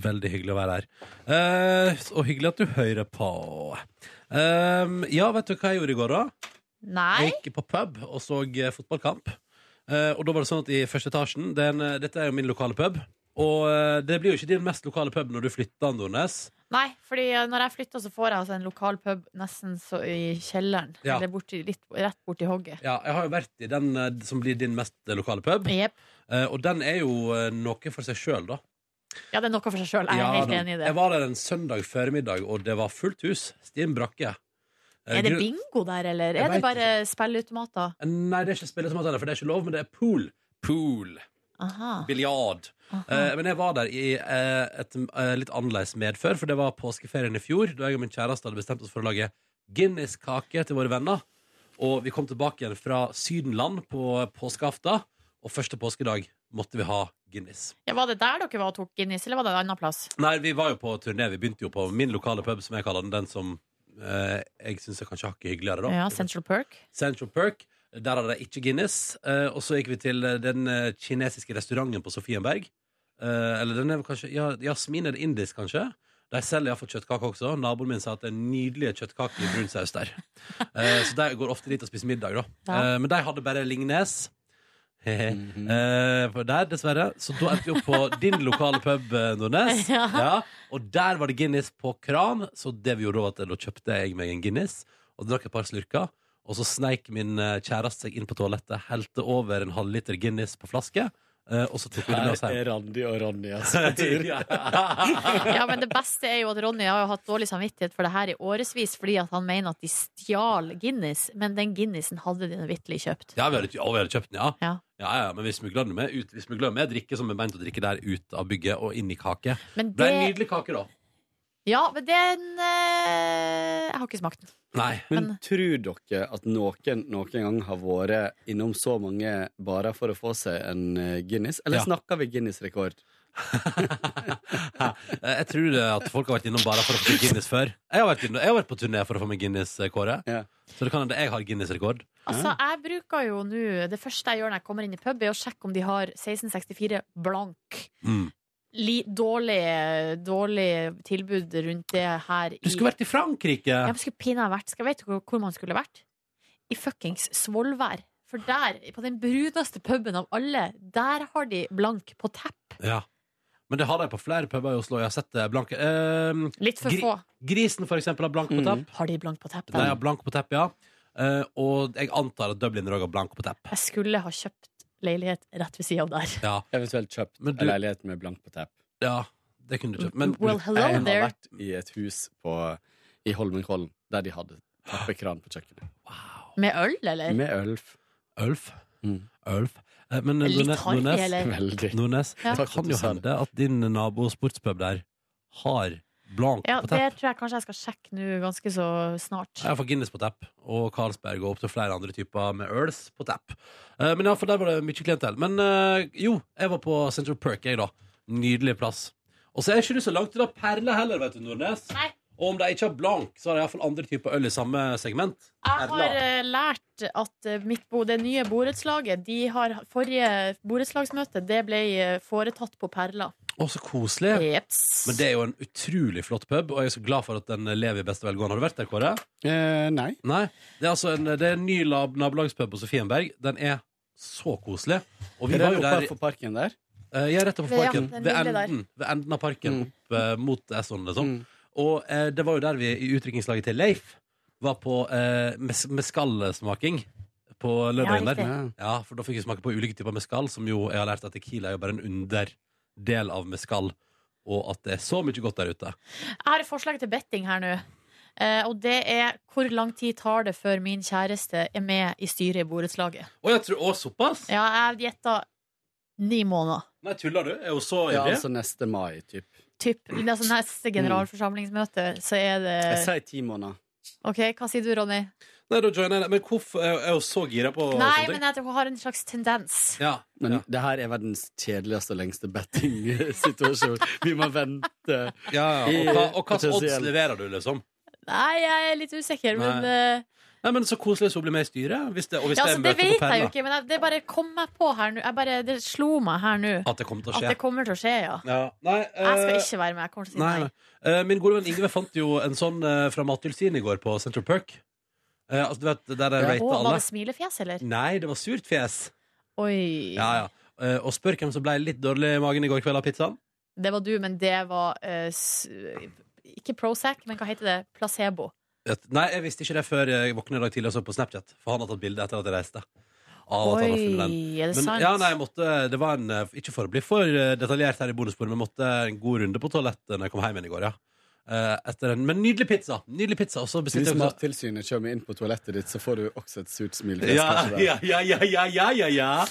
Veldig hyggelig å være her. Eh, og hyggelig at du hører på. Eh, ja, vet du hva jeg gjorde i går, da?
Nei?
Jeg gikk på pub og så eh, fotballkamp. Eh, og da var det sånn at i første etasjen det er en, eh, Dette er jo min lokale pub. Og eh, det blir jo ikke din mest lokale pub når du flytter, Nordnes.
Nei, fordi eh, når jeg flytter, så får jeg altså en lokal pub nesten så i kjelleren.
Ja.
Eller borti, litt, rett borti hogget.
Ja, jeg har jo vært i den eh, som blir din mest eh, lokale pub.
Jep.
Eh, og den er jo eh, noe for seg sjøl, da.
Ja, det er noe for seg sjøl. Jeg er
Ja,
helt
da.
enig i det.
Jeg var der en søndag formiddag, og det var fullt hus. Stien brakke. Eh,
Er det
grunn-
bingo der, eller
Jeg
er det
vet
bare spilleautomater?
Nei, det er ikke spilleautomater, for det er ikke lov, men det er pool. Pool.
Aha.
Biljard.
Aha.
Eh, men jeg var der i eh, et eh, litt annerledes medfør, for det var påskeferien i fjor, da jeg og min kjæreste hadde bestemt oss for å lage Guinness-kake til våre venner. Og vi kom tilbake igjen fra Sydenland på påskeaften, og første påskedag måtte vi ha Guinness.
Ja, var det der dere var og tok Guinness, eller var det en annen plass?
Nei, vi var jo på turné, vi begynte jo på min lokale pub, som jeg kaller den, den som eh, jeg syns er kanskje hakket hyggeligere, da.
Ja, Central Perk.
Central Perk. Der hadde de ikke Guinness. Eh, og så gikk vi til eh, den eh, kinesiske restauranten på Sofienberg. Eh, eller den er vel kanskje ja, Jasmin er det indisk, kanskje? De selger iallfall kjøttkaker også. Naboen min sa at det er nydelige kjøttkaker i brun saus der. Eh, så de går ofte dit og spiser middag, da.
Ja. Mhm.
Eh, men de hadde bare Lignes. Hehe. Eh, for der, dessverre. Så da endte vi opp på din lokale pub, eh, Nordnes.
Ja.
Ja, og der var det Guinness på kran, så det vi gjorde da, var at da kjøpte jeg meg en Guinness og drakk et par slurker. Og så sneik min eh, kjæreste seg inn på toalettet, helte over en halvliter Guinness på flaske, eh, og så tok vi det med oss
Her
hjem.
er Randi og Ronny, altså. på tur.
Ja, men det beste er jo at Ronny har jo hatt dårlig samvittighet for det her i årevis fordi at han mener at de stjal Guinness, men den Guinnessen hadde de nå vitterlig kjøpt.
Ja, vi hadde, ja, vi hadde kjøpt den, ja.
Ja.
Ja, ja, men vi smugla den med, ut, vi smuglet den med drikke som er meint å drikke der ut av bygget og inn i kake.
Men
Det ble en
det
nydelig kake, da.
Ja, men den eh, Jeg har ikke smakt den.
Nei.
Men
Men-
tror dere at noen noen gang har vært innom så mange barer for å få seg en eh, Guinness? Eller
Ja.
snakker vi Guinness-rekord?
Eh, Jeg tror det at folk har vært innom bare for å få seg Guinness før. Jeg har vært, innom, jeg har vært på turné for å få meg Guinness, eh, Kåre.
Ja.
Så det kan hende jeg har Guinness-rekord.
Altså, jeg bruker jo nå Det første jeg gjør når jeg kommer inn i pub, er å sjekke om de har 1664 blank.
Mm.
Li, dårlig, dårlig tilbud rundt det her
Du skulle vært i Frankrike!
Ja, men skulle pinadø vært Skal jeg vite hvor, hvor man skulle vært? I fuckings Svolvær. For der, på den bruneste puben av alle, der har de blank på tapp.
Ja. Men det har de på flere puber i Oslo. Jeg har sett det blanke. Eh,
Litt for
Gri-
få.
grisen, for eksempel, har blank på
Mm.
tepp.
Har de blank på tapp
De har
der?
blank på tepp, ja. Eh, og jeg antar at Dubliner òg har blank på tepp.
Jeg skulle ha kjøpt leilighet rett ved sida av der.
Ja.
Eventuelt kjøpt
Men du-
en leilighet med blank på tepp.
ja. Det kunne du ikke. Men
Well, hello
Jeg har
there.
vært i et hus på, i Holmenkollen der de hadde tappekran på kjøkkenet.
Med øl, eller?
Med ølf.
Ølf?
Mm.
Ølf. Eh, Men eh,
Litt
Nordnes,
harry,
Nordnes,
eller?
Veldig.
Nordnes
Ja.
det
Takk for at
kan
du
jo
sa
hende at din nabo sportspub der har blank
Ja,
på
det
tepp.
tror jeg kanskje jeg skal sjekke nå ganske så snart.
Jeg får Guinness på tepp, og Carlsberg og opptil flere andre typer med øls på tepp. Eh, Men ja, for der var det mye klientell. Men eh, jo, jeg var på Central Perk, jeg, da. Nydelig plass. Og så er ikke du så langt unna Perle heller, vet du, Nordnes.
Nei.
Og om de ikke har blank, så har de iallfall andre typer øl i samme segment.
Jeg
Erla.
har eh, lært at eh, mitt bo, det nye borettslaget de har, Forrige borettslagsmøte det ble eh, foretatt på Perla.
Å, så koselig.
Jeps.
Men det er jo en utrolig flott pub, og jeg er så glad for at den lever i beste velgående. Har du vært der, Kåre?
Eh, nei.
Nei. Det er altså en, det er en ny lab, nabolagspub på Sofienberg. Den er så koselig. Og vi
Er det
var jo der
oppe på parken der?
eh, Jeg er rett oppe på
Ja,
parken.
den
ved,
lille der.
enden, ved enden av parken,
Mm.
opp eh, mot Esson, liksom.
Mm.
Og eh, det var jo der vi i utdrikningslaget til Leif var på eh, mes meskalsmaking på lørdagen
Ja,
der.
riktig.
Ja.
Ja, for da fikk vi smake på ulike typer mescal, som jo jeg har lært at tequila er jo bare en underdel av mescal, og at det er så mye godt der ute.
Jeg har et forslag til betting her nå. Eh, og det er hvor lang tid tar det før min kjæreste er med i styret i borettslaget?
Å, jeg tror, å såpass?
Ja, jeg gjetta ni måneder.
Nei, tuller du? Er hun så
ja,
ivrig?
altså neste mai, typ.
Typ, altså neste
Mm.
generalforsamlingsmøte, så er det
Jeg sier ti måneder.
OK, hva sier du, Ronny?
Nei, da joiner jeg det. Men hvorfor er er hun så gira på
Nei,
sånne ting?
men jeg tror hun har en slags tendens.
Ja,
Men
ja.
det her er verdens kjedeligste og lengste betting-situasjon. Vi må vente.
ja, ja. Og, hva, og hva slags odds
Potensielt.
leverer du, liksom?
Nei, jeg er litt usikker, men
Nei.
eh,
Nei, men Så koselig hvis hun blir med i styret. Hvis det, og hvis
ja,
det
altså,
er
Det
møte på
vet jeg jo
Perla.
ikke, men jeg, det bare kom meg på her nå. Jeg bare, det slo meg her nå
At det kommer til å
at
skje.
det kommer til å skje, ja.
Ja. Nei,
Jeg skal
eh,
ikke være med. Jeg kommer til å si
nei,
nei.
nei. Eh, Min gode venn Ingve fant jo en sånn eh, fra Mattilsynet i går på Central Perk. Eh, altså, du vet, der de
Å,
rater
var
alle.
det smilefjes, eller?
Nei, det var surt fjes.
Oi.
Ja, ja. Eh, og spør hvem som ble litt dårlig i magen i går kveld av pizzaen.
Det var du, men det var eh, s Ikke Prozac, men hva heter det? Placebo.
Vet- Nei, jeg visste ikke det før jeg våkna i dag tidlig og så på Snapchat. For han har tatt bilde etter at jeg reiste. Av at han har funnet den.
Oi, er det
Men,
sant?
ja, nei, jeg måtte, det var en, eh, ikke for å bli for eh, detaljert her i bonusbordet, men jeg måtte en god runde på toalettet når jeg kom hjem igjen i går. ja. Eh, Etter en, men nydelig pizza! Nydelig pizza, og så bestilte jeg
Hvis
også-
Mattilsynet kommer inn på toalettet ditt, så får du også et surt smil.
ja,
kanskje, der.
ja, ja, ja, ja, ja, ja, ja.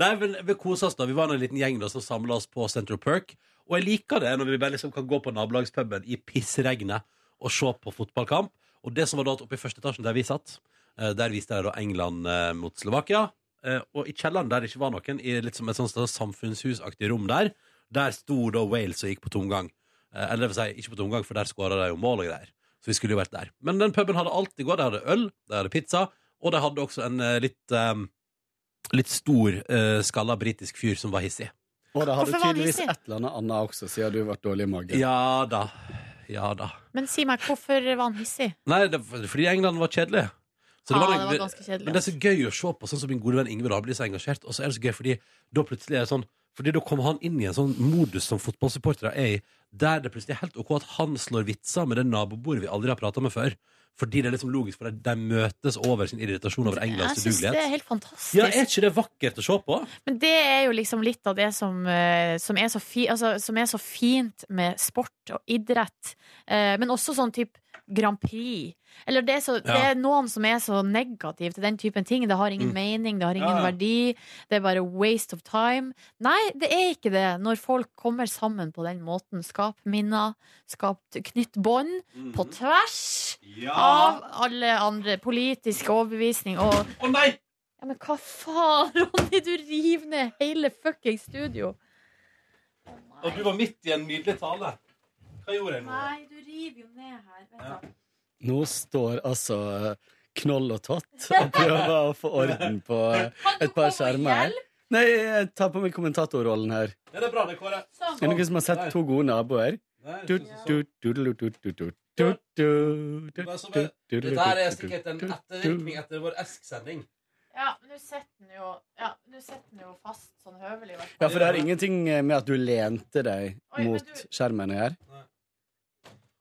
Nei, men vi kosa oss da. Vi var en liten gjeng da som samla oss på Central Perk. Og jeg liker det når vi bare liksom kan gå på nabolagspuben i pissregnet og se på fotballkamp. Og det som var da at oppe i første etasjen der vi satt, eh, der viste jeg da England eh, mot Slovakia. Eh, Og i kjelleren der det ikke var noen, i litt som et sånt sted, samfunnshusaktig rom der, der sto da Wales og gikk på tomgang. Eh, Eller det vil si, ikke på tomgang, for der skåra de jo mål og greier. Så vi skulle jo vært der. Men den puben hadde alt i går. De hadde øl, de hadde pizza, og de hadde også en eh, litt, eh, litt stor, eh, skalla britisk fyr som var hissig.
Og da har du
Hvorfor var han
tydeligvis
hissig?
et eller annet annet også, siden du har vært dårlig i magen.
Ja da. Ja da.
Men si meg, hvorfor var han hissig?
Nei, det, var fordi England var kjedelig. Så det
ah,
var,
det
noe-
var ganske kjedelig.
men det er så gøy å se på, sånn som min gode venn Ingve da blir så engasjert. Og så er det så gøy, fordi da plutselig er det sånn Fordi da kommer han inn i en sånn modus som fotballsupportere er i, der det plutselig er helt ok at han slår vitser med det nabobordet vi aldri har prata med før. Fordi det er liksom logisk, for de- de møtes over sin irritasjon over
Jeg
Englands
syns det er
udugelighet.
helt fantastisk.
Ja, er ikke det vakkert å se på?
Men det er jo liksom litt av det som, eh, som, er, så fi, altså, som er så fint med sport og idrett, eh, men også sånn type Grand Prix. Eller det er, så, det
Ja.
er noen som er så negative til den typen ting. Det har ingen
Mm.
mening, det har ingen
Ja, ja.
verdi. Det er bare waste of time. Nei, det er ikke det. Når folk kommer sammen på den måten. Skap minner, skap knytt bånd på
Mhm.
tvers av alle andre politisk overbevisning og
Å nei!
ja, men hva faen, Ronny? Du river ned hele fucking studio.
Og du var midt i en nydelig tale. Hva gjorde jeg nå?
Nei, du river jo ned her.
Ja.
Vent, da.
Nå står altså eh, Knoll og Tott og prøver å få orden på eh,
Kan du
et par
komme og
skjermer. her.
hjelpe?
Nei, jeg tar på meg kommentatorrollen her.
Ja, det er bra, det, Kåre.
Sånn.
Er det noen som har sett to gode naboer?
Nei,
Du,
det synes jeg
du, du, du, du, du, du, du, du, du,
Hva som
du,
er-
du,
så.
du,
Dette her er
du, du,
sikkert en
du, du.
ettervirkning etter vår Esk-sending.
Ja, men du setter den jo Ja, du setter den jo fast sånn høvelig, i hvert
Ja, for det har ingenting eh, med at du lente deg
Oi, men
mot
du-
skjermen her.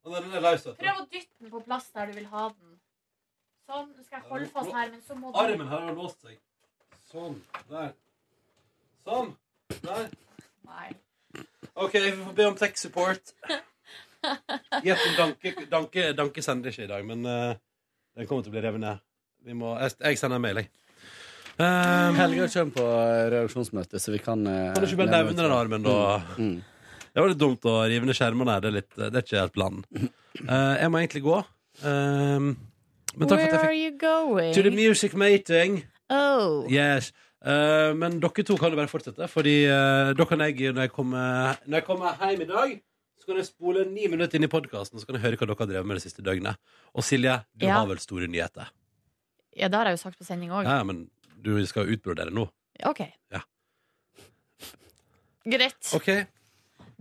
Og den er løs, vet du.
Prøv å dytte den på plass der du vil ha den. Sånn. Nå skal jeg holde fast her, men så må du
Armen her har låst seg. Sånn. Der. Sånn. Der.
Nei.
OK, vi får be om tech support. Gjett om Danke, Danke, Danke sender ikke i dag, men eh, den kommer til å bli revet ned. Vi må, jeg, jeg sender en mail, jeg. Um,
Helga kommer på eh, redaksjonsmøte, så vi kan eh,
kan du ikke bare
nevne
nevne den armen, da?
Mm.
Det var litt dumt å rive ned skjermene. her, Det er, litt, det er ikke helt planen. Eh, jeg må egentlig gå. Um, men takk for at
Where
jeg
are
fikk
you
To the
going?
music meeting.
Oh.
Yes. Eh, men dere to kan jo bare fortsette, Fordi eh, da kan jeg, når jeg, kommer, når jeg kommer hjem i dag, så kan jeg spole ni minutter inn i podkasten Så kan jeg høre hva dere har drevet med det siste døgnet. Og Silje, du
Ja.
har vel store nyheter?
Ja, det har jeg jo sagt på sending òg.
Ja, men du skal jo utbrodere nå.
OK.
Ja.
Greit.
OK.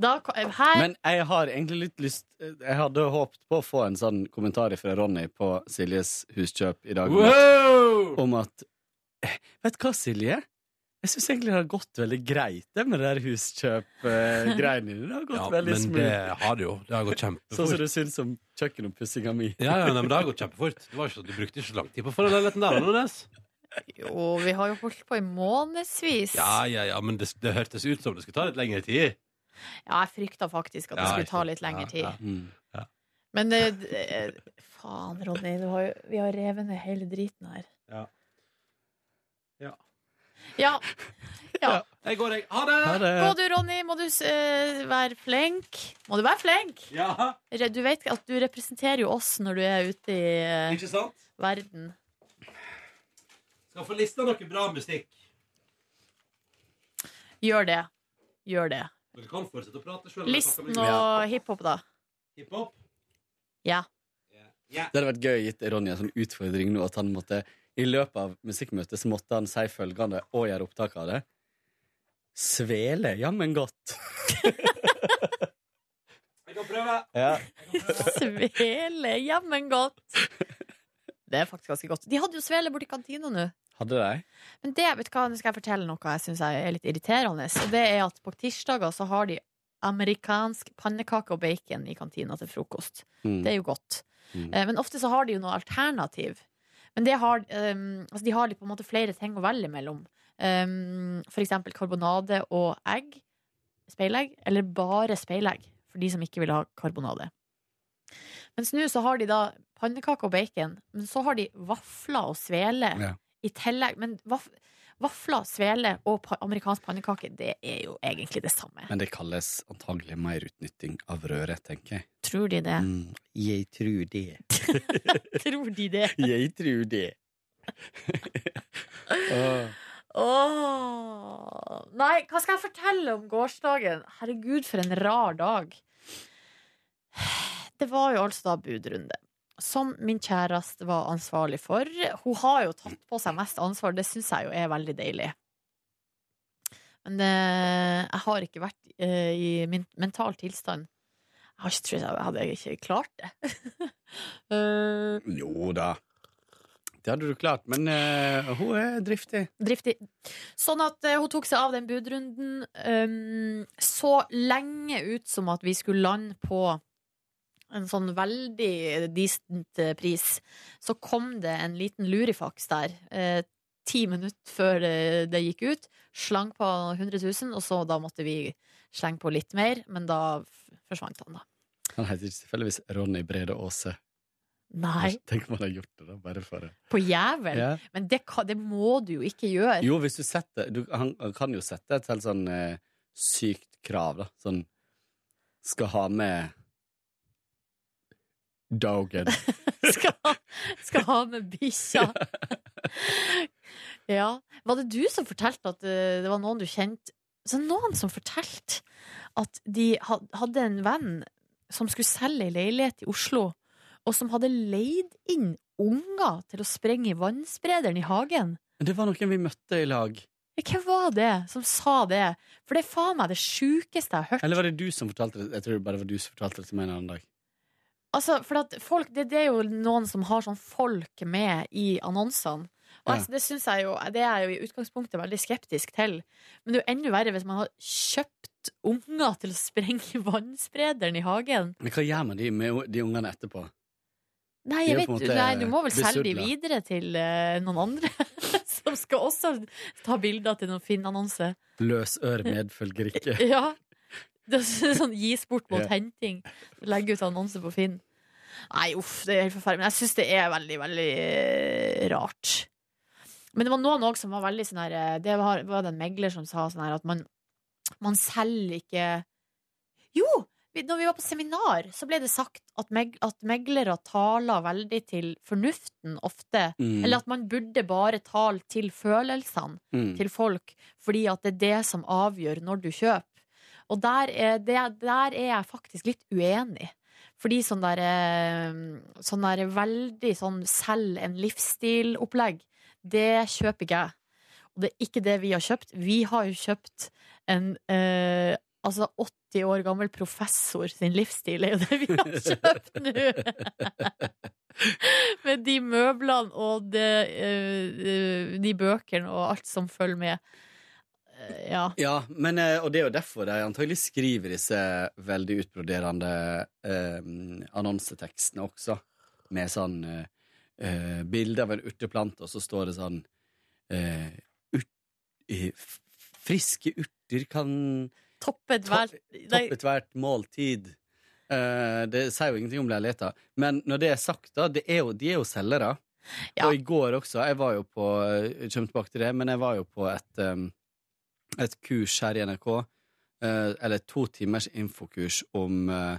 Da ko- Her
Men jeg har egentlig litt lyst eh, Jeg hadde håpet på å få en sånn kommentar fra Ronny på Siljes huskjøp i dag. om at-
Wow!
Om at eh, Vet du hva, Silje? Jeg syns egentlig det har gått veldig greit, det med det der huskjøp-greiene dine. Det har gått
Ja,
veldig
men det
smooth.
har det jo. Det har gått
Sånn som
kjempefort.
du syns om kjøkkenoppussinga mi.
Ja, ja, nei, men det har gått kjempefort. Det var ikke, sånn- du brukte ikke så lang tid på å få den leiligheten der. Anders.
Jo, vi har jo holdt på i månedsvis.
Ja, ja, ja, men det, det hørtes ut som det skulle ta litt lengre tid.
Ja, jeg frykta faktisk at det
Ja,
skulle
ikke
ta
sant.
litt lengre
Ja,
tid.
ja.
Mm.
Men eh, d- eh, faen, Ronny, du har jo, vi har revet ned hele driten her.
Ja. Ja.
Ja. ja.
Jeg går, jeg. Ha det!
Ha det.
Gå du, Ronny. Må du eh, være flink. Må du være flink?
Ja,
Re- Du vet at du representerer jo oss når du er ute i eh,
ikke sant?
verden.
Skal få lista noe bra musikk.
Gjør det. Gjør det.
Dere kan fortsette å prate selv.
Listen og hiphop, da.
Hiphop?
Ja.
Ja.
Det hadde vært gøy å gitt Ronny en sånn utfordring nå at han måtte I løpet av musikkmøtet så måtte han si følgende og gjøre opptak av det. Svele jammen godt.
Jeg kan prøve.
Ja.
Svele, jammen godt. Det er faktisk ganske godt. De hadde jo svele borti kantina nå.
Hadde de?
Men det, vet du hva, nå skal jeg fortelle noe jeg syns er litt irriterende. Og det er at på tirsdager så har de amerikansk pannekake og bacon i kantina til frokost.
Mm.
Det er jo godt.
Mm.
Eh, Men ofte så har de jo noe alternativ. Men det har, ehm, altså de har litt på en måte flere ting å velge mellom. Ehm, for eksempel karbonade og egg. Speilegg. Eller bare speilegg, for de som ikke vil ha karbonade. Mens nå så har de da pannekake og bacon, men så har de vafler og svele
Ja.
i tillegg. Men vaf vafler, svele og pa amerikansk pannekake, det er jo egentlig det samme.
Men det kalles antagelig merutnytting av røre, tenker jeg.
Tror de det?
Mm. Jeg tror det.
Tror de det?
Jeg tror det. Åh.
Åh. Nei, hva skal jeg fortelle om gårsdagen? Herregud, for en rar dag. Det var jo altså da budrunde. Som min kjæreste var ansvarlig for. Hun har jo tatt på seg mest ansvar, det syns jeg jo er veldig deilig. Men eh, jeg har ikke vært eh, i min mental tilstand. Jeg har ikke trodd jeg hadde ikke klart det. Eh,
Jo da. Det hadde du klart, men eh, hun er driftig.
Driftig. Sånn at eh, hun tok seg av den ehm, budrunden um, så lenge ut som at vi skulle lande på en sånn veldig decent eh, pris, så kom det en liten lurifaks der. Eh, ti minutter før eh, det gikk ut. Slang på 100 000, og så da måtte vi slenge på litt mer, men da f- forsvant han, da.
Han heter ikke tilfeldigvis Ronny Brede Aase.
Nei,
Tenk om han har gjort det, da, bare for det.
på jævel!
Ja.
Men det, ka- det må du jo ikke gjøre.
Jo, hvis du setter du, han, han kan jo sette et helt sånn eh, sykt krav, da. Sånn Skal ha med Dogen.
skal, ha- skal ha med bikkja. Ja. Var det du som fortalte at eh, det var noen du kjente Så noen som fortalte at de had- hadde en venn som skulle selge ei leilighet i Oslo, og som hadde leid inn unger til å sprenge i vannsprederen i hagen.
Men Det var noen vi møtte i lag.
Hvem var det som sa det? For det er faen meg det sjukeste jeg har hørt.
Eller var det du som fortalte det? Jeg tror det bare var du som fortalte det til meg en annen dag.
Altså, for at folk, det, det er jo noen som har sånn folk med i annonsene. Og
Ja.
altså, det synes jeg jo, det er jeg jo i utgangspunktet veldig skeptisk til. Men det er jo enda verre hvis man har kjøpt unger til å sprenge vannsprederen i hagen.
Men hva gjør man de, med de ungene etterpå?
Nei,
Det er
jeg
jo
vet,
på en måte
nei, du må vel selge de
besudlet.
videre til eh, noen andre, som skal også ta bilder til noen fin annonse.
Løsør medfølger ikke.
Ja. Det er sånn gis bort mot
Ja.
henting. Legge ut annonse på Finn. Nei, uff, det er helt forferdelig. Men jeg syns det er veldig, veldig eh, rart. Men det var noen òg som var veldig sånn her eh, Det var, var det en megler som sa sånn her at man, man selger ikke Jo! vi- Når vi var på seminar, så ble det sagt at, meg, at meglere taler veldig til fornuften ofte.
Mm,
Eller at man burde bare tale til følelsene
mm.
til folk, fordi at det er det som avgjør når du kjøper. Og der er, det, der er jeg faktisk litt uenig. Fordi sånn der, eh, sånn der veldig sånn selg en livsstil-opplegg, det kjøper ikke jeg. Og det er ikke det vi har kjøpt. Vi har jo kjøpt en eh, altså 80 år gammel professor sin livsstil, er jo det vi har kjøpt nå! Med de møblene og det, eh, eh, de bøkene og alt som følger med. Eh, ja.
Ja, men, eh, og det er jo derfor de antagelig skriver disse veldig utbroderende eh, annonsetekstene også, med sånn eh, eh, bilde av en urteplante, og så står det sånn eh, urt, eh, f- Friske urter kan
Toppet
Ta-
vel Nei,
toppe hvert måltid. Eh, det sier jo ingenting om leiligheter. Men når det er sagt, da, det er jo, de er jo selgere.
Ja.
Og i går også, jeg var jo på jeg Kommer tilbake til det, men jeg var jo på et, em, et kurs her i NRK. eh, eller to timers infokurs om, eh,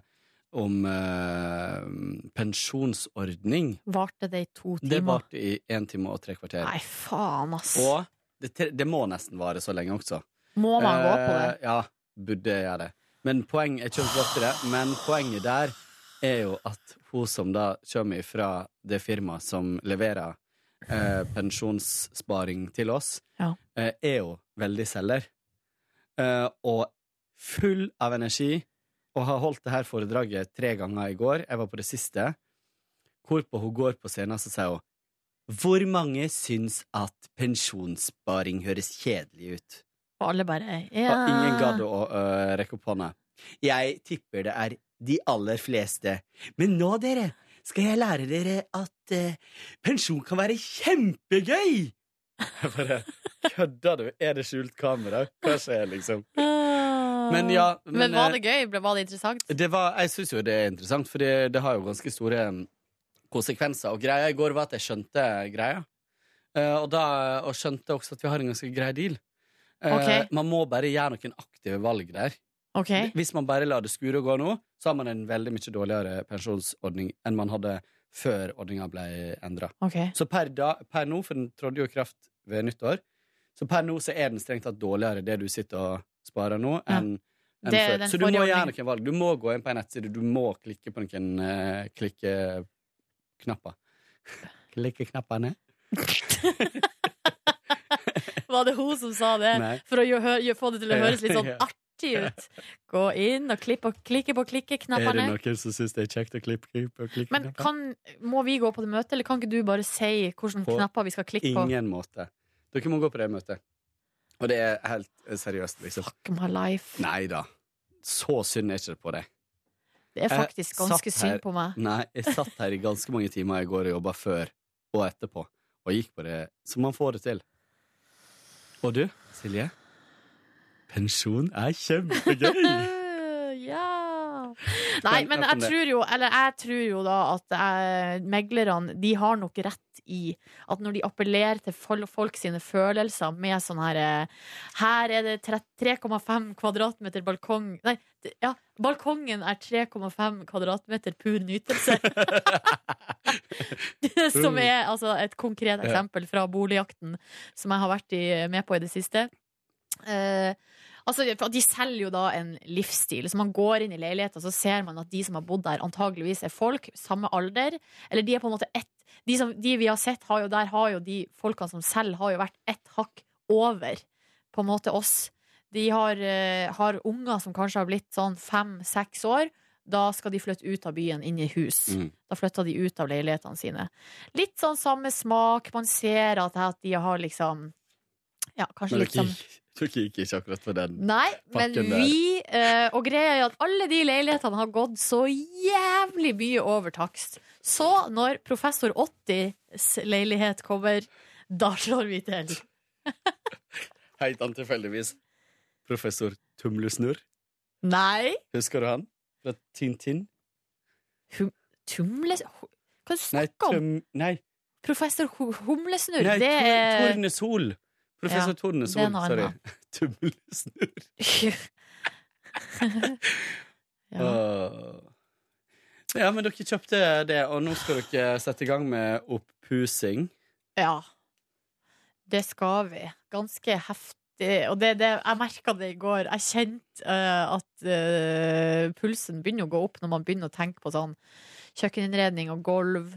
om eh, pensjonsordning.
varte det i to
Det
timer.
varte i én time og tre kvarter.
Nei, faen, ass.
Og det, tre- det må nesten vare så lenge også.
Må man gå på det?
Eh, Ja, burde jeg gjøre det. Men poeng, jeg kommer tilbake til det, men poenget der er jo at hun som da kommer fra det firmaet som leverer eh, pensjonssparing til oss,
Ja.
eh, er jo veldig selger. Eh, og full av energi, og har holdt det her foredraget tre ganger i går. Jeg var på det siste. Hvorpå hun går på scenen, så sier hun Hvor mange syns at pensjonssparing høres kjedelig ut?
Og alle bare
Og ingen
ja.
gadd å øh, rekke opp hånda. Jeg tipper det er de aller fleste. Men nå, dere, skal jeg lære dere at øh, pensjon kan være kjempegøy! Jeg bare Kødder du? Er det skjult kamera? Hva skjer, liksom? Men ja,
Ah. Men,
men,
var
eh,
det gøy? Ble- Var det interessant?
Det var, jeg syns jo det er interessant, for det, det har jo ganske store mm, konsekvenser. Og greia i går var at jeg skjønte greia. Eh, og, da, og skjønte også at vi har en ganske grei deal. Eh,
Ok.
Man må bare gjøre noen aktive valg der.
OK.
Hvis man bare lar det skure og gå nå, så har man en veldig mye dårligere pensjonsordning enn man hadde før ordninga ble endra.
ok
Så per, da, per nå, for den trådte jo i kraft ved nyttår, så per nå så er den strengt tatt dårligere, det du sitter og sparer nå,
Ja.
enn enn
Det er
før.
den
Så du må
forrige
gjøre
ordningen.
noen valg. Du må gå inn på en nettside, du må klikke på noen eh, klikkeknapper. Klikkeknappene?
Var det hun som sa det?
Nei.
For å gjø- hø- gjø- få det til å
Ja,
høres litt sånn
ja.
artig ut. Gå inn og klipp og klikke på
Er det
klikkeknappene.
noen som syns det er kjekt å klippe klippe og klikke
Men
knapper?
kan, må vi gå på det møtet, eller kan ikke du bare si hvilke
På
knapper vi skal klikke på?
Ingen måte. Dere må gå på det møtet. Og det er helt eh, seriøst, liksom.
Fuck my life.
Nei da. Så synd er ikke det på deg.
Det er
Jeg
faktisk ganske
satt her-
synd på meg.
Nei, jeg satt her i ganske mange timer i går og jobba før og etterpå, og gikk på det som man får det til. Og du, Silje? Pensjon er kjempegøy!
ja Nei,
Men
men
nok om
jeg
det.
tror jo, eller jeg tror jo da at eh, meglerne, de har nok rett i at når de appellerer til fol- folk sine følelser med sånn her eh, Her er det tre- 3,5 kvadratmeter balkong Nei, det- ja, balkongen er 3,5 kvadratmeter pur nytelse. som er altså et konkret eksempel fra boligjakten som jeg har vært i, med på i det siste. Eh, Altså, for De selger jo da en livsstil. Så Man går inn i leiligheten og så ser man at de som har bodd der, antageligvis er folk samme alder. Eller de er på en måte ett De, som, de vi har sett har jo der, har jo de folkene som selv har jo vært ett hakk over på en måte oss. De har, eh, har unger som kanskje har blitt sånn fem-seks år. Da skal de flytte ut av byen, inn i hus.
Mm.
Da flytter de ut av leilighetene sine. Litt sånn samme smak. Man ser at, at de har liksom Ja, kanskje
Men
litt
dere
sånn
gikk, dere gikk ikke akkurat for den.
Nei, men
pakken der.
vi eh, Og greia er at alle de leilighetene har gått så jævlig mye over takst. Så når Professor 80s leilighet kommer, da slår vi til.
Helt an tilfeldigvis. Professor Tumlesnurr,
Nei.
husker du han? Fra Tintin?
Tumles... Hva er det du
Nei,
snakker om?
tøm, nei,
Professor Ho- Humlesnurr,
nei
det
Tor-
er
Tornesol! Professor
Ja, det er
Tornesol,
noe
sorry.
annet.
Tumlesnurr.
ja.
Åh. Ja, men dere kjøpte det, og nå skal dere sette i gang med oppussing.
ja. Det skal vi. Ganske heftig. Og det, det, jeg merka det i går. Jeg kjente eh, at eh, pulsen begynner å gå opp når man begynner å tenke på sånn kjøkkeninnredning og gulv.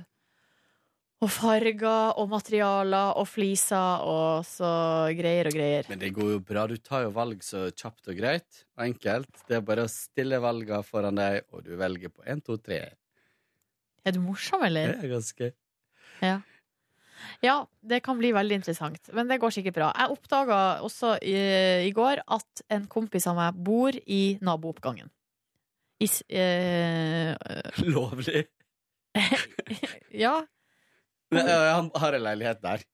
Og farger og materialer og fliser og så greier og greier.
Men det går jo bra. Du tar jo valg så kjapt og greit og enkelt. Det er bare å stille valga foran deg, og du velger på én, to, tre.
Er du morsom,
Det
eller?
er ganske
Ja, det kan bli veldig interessant, men det går sikkert bra. Jeg oppdaga også i, i går at en kompis av meg bor i nabooppgangen. I, s- eh,
lovlig.
ja.
Nei, han har en leilighet der.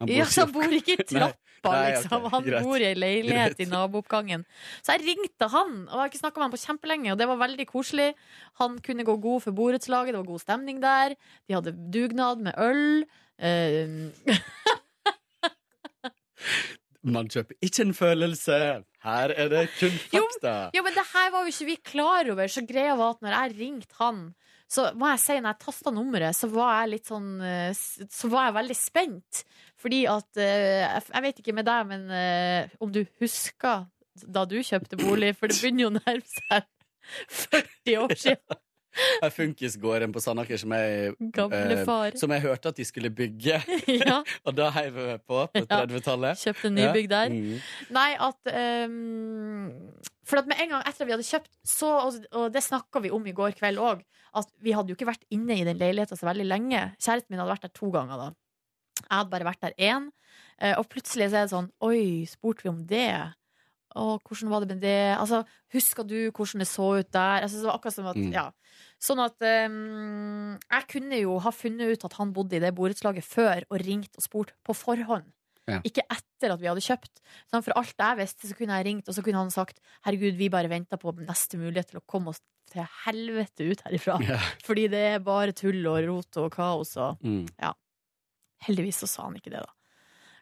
Han
ja, så han
ikke-
bor ikke i
Nei,
trappa,
nei, ok,
liksom. Han
greit.
bor i ei leilighet i
Greit.
nabooppgangen. Så jeg ringte han, og jeg har ikke snakka med han på kjempelenge, og det var veldig koselig. Han kunne gå god for borettslaget, det var god stemning der. De hadde dugnad med øl. Eh,
Man kjøper ikke en følelse. Her er det kun
Jo,
fakta.
Ja, men det her var jo ikke vi klar over, så greia var at når jeg ringte han så må jeg si, når jeg tasta nummeret, så var jeg litt sånn eh, s- Så var jeg veldig spent. Fordi at eh, Jeg jeg vet ikke med deg, men eh, om du husker da du kjøpte bolig, for det begynner jo å nærme seg 40 år siden,
Her funkisgården på Sandaker som jeg
gamle
Eh,
far.
som jeg hørte at de skulle bygge,
Ja,
og da heiv jeg meg på på
Ja.
30-tallet.
Kjøpte nybygg der.
Mm.
Nei, at ehm, For at med en gang etter at vi hadde kjøpt, så, og, og det snakka vi om i går kveld òg, at vi hadde jo ikke vært inne i den leiligheta så veldig lenge. Kjæresten min hadde vært der to ganger da. Jeg hadde bare vært der én. eh, Og plutselig så er det sånn Oi, spurte vi om det? Å, hvordan var det med det? Altså, husker du hvordan det så ut der? Altså, det var akkurat som at,
Mm.
ja. Sånn at ehm, jeg kunne jo ha funnet ut at han bodde i det borettslaget før, og ringt og spurt på forhånd.
Ja.
Ikke etter at vi hadde kjøpt. Sånn, for alt jeg visste, så kunne jeg ringt, og så kunne han sagt Herregud, vi bare venter på neste mulighet til å komme oss til helvete ut herifra.
Ja.
Fordi det er bare tull og rot og kaos og
Mm.
Heldigvis så sa han ikke det, da.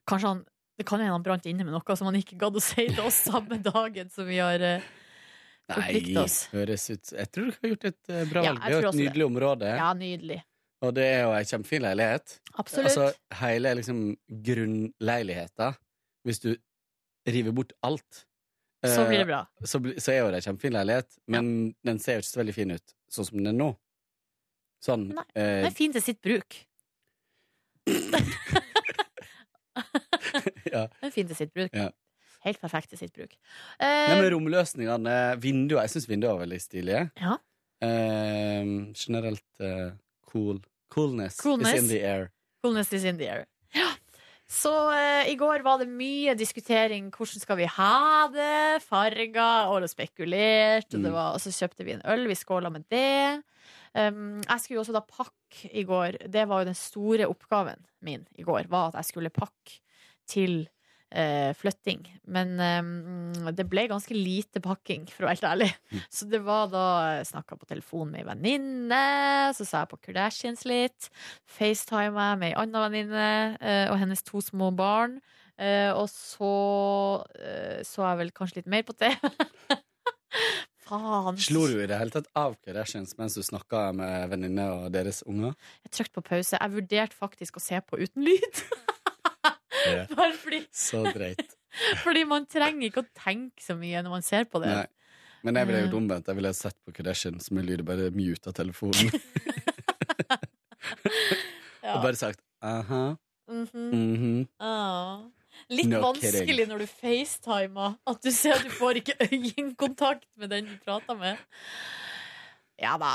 Kanskje han Det kan hende han brant inne med noe som han ikke gadd å si til oss samme dagen som vi har eh, Forplikt
Nei,
oss.
høres ut Jeg tror dere har gjort et eh, bra
Ja, jeg
valg. Det er
tror
jo et
også det.
nydelig område,
Ja, nydelig.
og det er jo ei kjempefin leilighet.
Absolutt.
Altså, hele liksom grunnleiligheta, hvis du river bort alt eh,
så blir det bra.
så, bli- så er jo det en kjempefin leilighet, men den ser jo ikke så veldig fin ut sånn som den er nå. Sånn.
Nei.
eh,
Det er fint til sitt bruk.
ja.
Det er fint til sitt bruk.
Ja.
Helt perfekt til sitt bruk.
Nei,
Eh,
men romløsningene, vinduer Jeg syns vinduer er veldig stilige.
Ja.
Eh, generelt eh, cool. Coolness,
Coolness.
is in the air.
coolness is in the air. Ja. Så eh, i går var det mye diskutering. Hvordan skal vi ha det? Farger. Og det spekulert. Og, det var, og så kjøpte vi en øl. Vi skåla med det. Um, jeg skulle jo også da pakke i går. Det var jo den store oppgaven min i går. Var at jeg skulle pakke til eh, flytting. Men eh, det ble ganske lite pakking, for å være helt ærlig. Så det var da Snakka på telefon med ei venninne, så sa jeg på Kardashians litt. FaceTima med ei anna venninne eh, og hennes to små barn. Eh, og så eh, så jeg vel kanskje litt mer på det. Faen.
Slo du i det hele tatt av Kardashians mens du snakka med venninne og deres unger?
Jeg trykte på pause. Jeg vurderte faktisk å se på uten lyd.
Ja.
Bare fordi,
Så dreit.
fordi man trenger ikke å tenke så mye når man ser på det.
Nei. Men jeg
Eh.
ville gjort omvendt. Jeg ville sett på Kardashians med lyd og bare muta telefonen.
Ja.
Og bare sagt aha,
Mhm.
mhm.
Ah. Litt
No
vanskelig
kidding.
når du facetimer. At du ser at du får ikke øyekontakt med den du prater med. Ja da.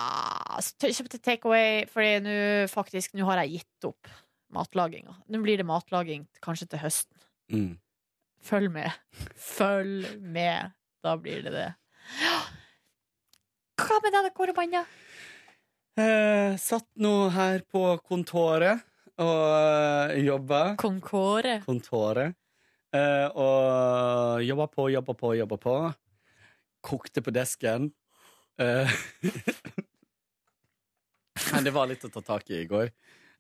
Så tø- Kjøpte takeaway, Fordi nå faktisk Nå har jeg gitt opp matlaginga. Nå blir det matlaging kanskje til høsten.
Mm.
Følg med. Følg med. Da blir det det. Ja. Hva med deg, da, Kåre Banna?
Eh, satt nå her på kontoret og eh, jobba.
Kong Kåre.
Kontoret. Eh, og jobba på, jobba på, jobba på. Kokte på desken. Eh, Men det var litt å ta tak i i går.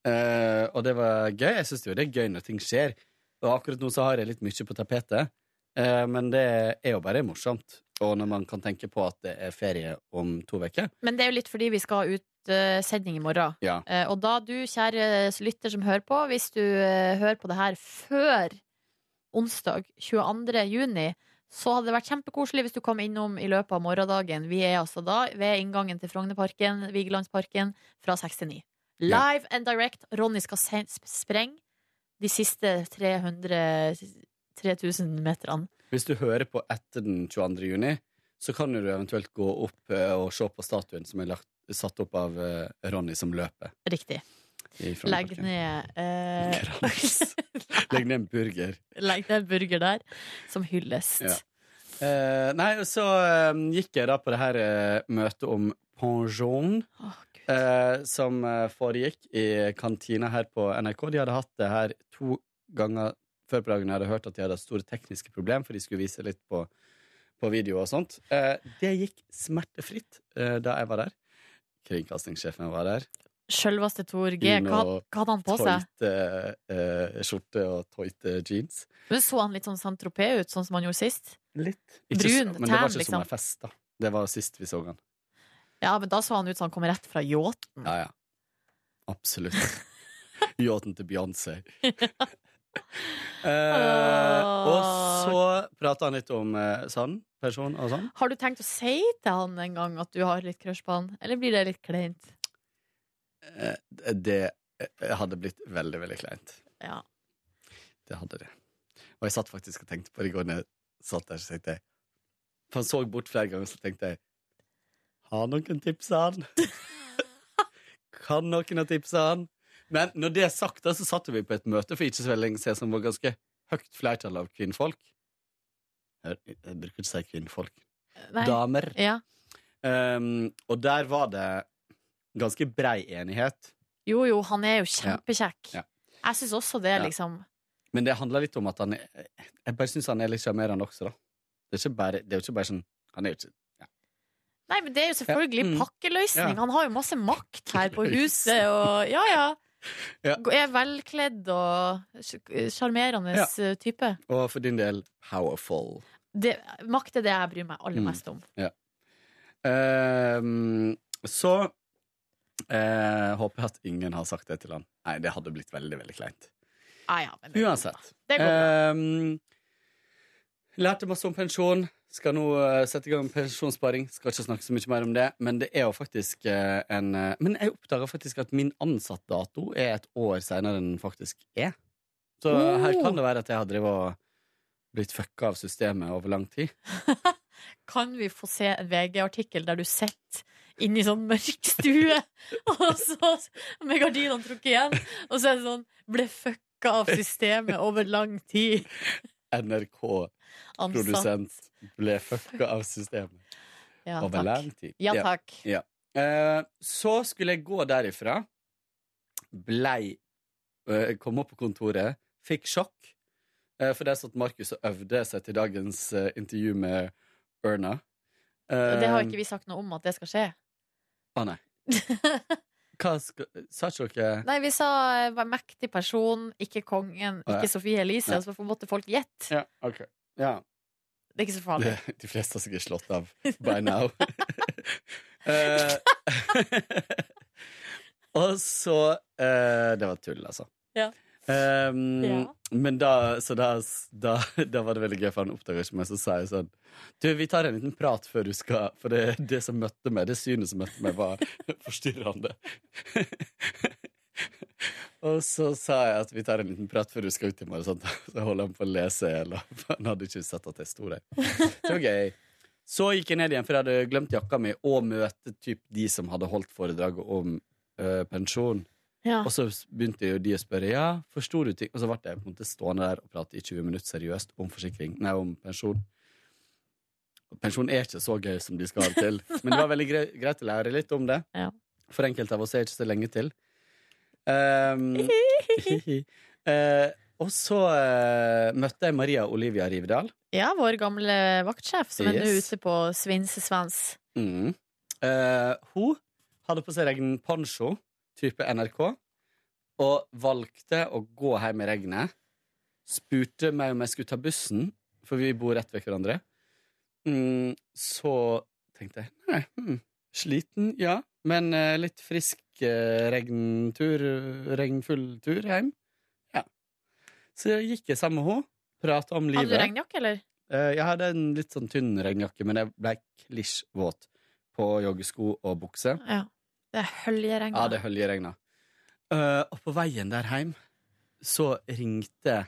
Eh, og det var gøy. Jeg syns jo det er gøy når ting skjer. Og akkurat nå så har jeg litt mye på tapetet. Eh, men det er jo bare morsomt. Og når man kan tenke på at det er ferie om to uker.
Men det er jo litt fordi vi skal ha ut eh, sending i morgen.
Ja.
Eh, og da, du kjære lytter som hører på, hvis du eh, hører på det her før onsdag 22. juni, så hadde det vært kjempekoselig hvis du kom innom i løpet av morgendagen. Vi er altså da ved inngangen til Frognerparken, Vigelandsparken, fra 6 til 9. Live and direct. Ronny skal se- sp- sprenge de siste 300 3000 meterne.
Hvis du hører på etter den 22. juni, så kan jo du eventuelt gå opp eh, og se på statuen som er lagt, satt opp av eh, Ronny som løper.
Riktig.
i
Legg
Frognerparken.
ned eh,
Krans. Legg ned en burger.
Legg ned en burger der, som hyllest.
Ja. Eh, nei, og så eh, gikk jeg da på det her eh, møtet om pensjon,
Åh, Gud.
eh, som eh, foregikk i kantina her på NRK. De hadde hatt det her to ganger før på dagen. Jeg hadde hørt at de hadde hatt store tekniske problemer, for de skulle vise litt på, på video og sånt. Eh, det gikk smertefritt eh, da jeg var der. Kringkastingssjefen var der.
Sjølveste Tor G.
Inn
Hva,
og
hva hadde han på seg?
Tøyte eh, skjorte og tøyte jeans.
Men Så han litt sånn Saint-Tropez ut, sånn som han gjorde sist?
Litt. Ikke, så-
Brun,
men det var
tan,
ikke
liksom.
sommerfest, da. Det var sist vi så han.
Ja, men da så han ut som han kom rett fra yacht.
Ja, ja. Absolutt. Yachten til Beyoncé. Eh, og så prata han litt om eh, sann person og sånn.
Har du tenkt å si til han en gang at du har litt crush på han, eller blir det litt kleint?
Eh, det eh, hadde blitt veldig, veldig kleint.
Ja.
Det hadde det. Og jeg satt faktisk og tenkte på det i går når jeg satt der, så tenkte jeg For han så bort flere ganger, så tenkte jeg Har noen tipsa han? kan noen ha tipsa han? Men når det er sagt, da, så satt vi på et møte for ikke så veldig lenge siden som var ganske høyt flertall av kvinnfolk. Jeg, jeg bruker ikke å si kvinnfolk.
Nei.
Damer.
Ja.
Um, og der var det ganske brei enighet.
Jo, jo, han er jo kjempekjekk.
Ja.
Jeg syns også det,
Ja.
liksom.
Men det handler litt om at han er Jeg bare syns han er litt sjarmerende også, da. Det er, ikke bare, det er jo ikke bare sånn Han er jo ikke
Nei, men det er jo selvfølgelig
Ja, mm.
pakkeløsning.
Ja.
Han har jo masse makt her på
Pakkeløsning.
huset og Ja, ja.
Ja.
Er velkledd og sj- sjarmerende
Ja.
eh, type.
Og for din del powerful.
Det, makt er det jeg bryr meg aller
Mm.
mest om.
Ehm, så eh, håper jeg at ingen har sagt det til han. Nei, det hadde blitt veldig, veldig kleint.
Ah, ja, men det-
Uansett.
Det går bra.
Ehm, lærte masse om pensjon. Skal nå eh, sette i gang med pensjonssparing. Skal ikke snakke så mye mer om det. Men det er jo faktisk eh, en eh, Men jeg oppdaga faktisk at min ansattdato er et år seinere enn den faktisk er. Så
Oh.
her kan det være at jeg har drevet og blitt fucka av systemet over lang tid.
Kan vi få se en VG-artikkel der du sitter inni sånn mørk stue, og så med gardinene trukket igjen, og så er det sånn 'ble fucka sjekka av systemet over lang tid.
NRK-produsent
Ansatt.
ble fucka av systemet
Ja,
over
takk.
lang tid.
Ja, takk.
Eh, så skulle jeg gå derifra. Blei eh, Kom opp på kontoret. Fikk sjokk. Eh, for der satt Markus og øvde seg til dagens eh, intervju med Erna. Eh,
Det har ikke vi sagt noe om at det skal skje.
Å, nei. Hva skal Sa ikke dere
Nei, vi sa eh, var mektig person, ikke kongen,
Å, ja.
ikke Sofie Elise.
Nei.
Så på en måte folk gjette.
Ja, OK. Ja.
Det er ikke så farlig.
Det, de fleste har sikkert slått av by now. Eh, og så eh, Det var tull, altså.
Ja.
Ehm,
Ja.
Men da, så da, da, da var det veldig gøy, for han oppdaga ikke meg. Så sa jeg sånn Du, vi tar en liten prat før du skal For det, det som møtte meg, det synet som møtte meg, var forstyrrende. og så sa jeg at vi tar en liten prat før du skal ut i morgen. Sånn. Så holdt han på å lese i hjel. og Han hadde ikke sett at jeg sto der. Det var gøy. Så gikk jeg ned igjen, for jeg hadde glemt jakka mi, og møte typ de som hadde holdt foredraget om eh, pensjon.
Ja.
Og så begynte jo de å spørre ja, forsto du ting? Og så ble jeg på en måte stående der og prate i 20 minutter seriøst om forsikring, nei, om pensjon. Og Pensjon er ikke så gøy som de skal ha det til, men det var veldig gre greit å lære litt om det.
Ja.
For enkelte av oss er ikke så lenge til. Um, Eh, og så eh, møtte jeg Maria Olivia Rivedal.
ja, vår gamle vaktsjef som er nå
Yes.
ute på svinsesvens.
Mm. Eh, hun hadde på seg regn poncho, type NRK, og valgte å gå hjem i regnet. Spurte meg om jeg skulle ta bussen, for vi bor rett ved hverandre. Mm, så tenkte jeg nei, hmm, sliten, ja, men eh, litt frisk eh, regntur, regnfull tur hjem. Ja. Så gikk jeg sammen med henne, prata om
Hadde
livet.
du regnjakke, eller?
Eh, Jeg hadde en litt sånn tynn regnjakke, men jeg ble klisj våt på joggesko og bukse.
Ja. Det er høljeregn.
Ja, det høljeregna. Eh, og på veien der hjem så ringte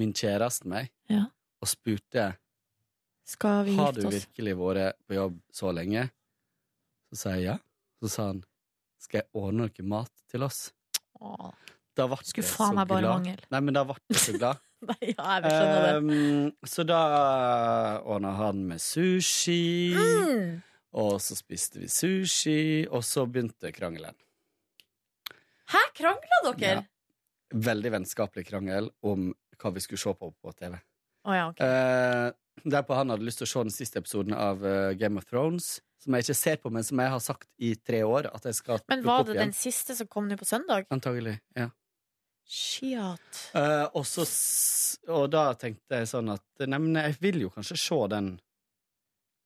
min kjæreste meg
Ja.
og spurte
Skal vi
har du
gifte oss?
virkelig vært på jobb så lenge. Så sa jeg ja. Så sa han skal jeg ordne noe mat til oss.
Åh,
Da ble jeg
Skulle
så
faen meg bare
glad.
mangel.
Nei, men da ble jeg så glad.
Nei, ja, jeg vil skjønne det.
Ehm, så da ordna han med sushi.
Mm.
Og så spiste vi sushi, og så begynte krangelen.
Hæ, krangla dere?
Ja. Veldig vennskapelig krangel om hva vi skulle se på på TV.
Å ja, ok.
Eh, derpå han hadde lyst til å se den siste episoden av eh, Game of Thrones, som jeg ikke ser på, men som jeg har sagt i tre år at jeg skal
Men
plukke
var
opp
det den siste som kom nå på søndag?
Antagelig, ja.
Shit.
Eh, og, så, s- og da tenkte jeg sånn at Nei, men jeg vil jo kanskje se den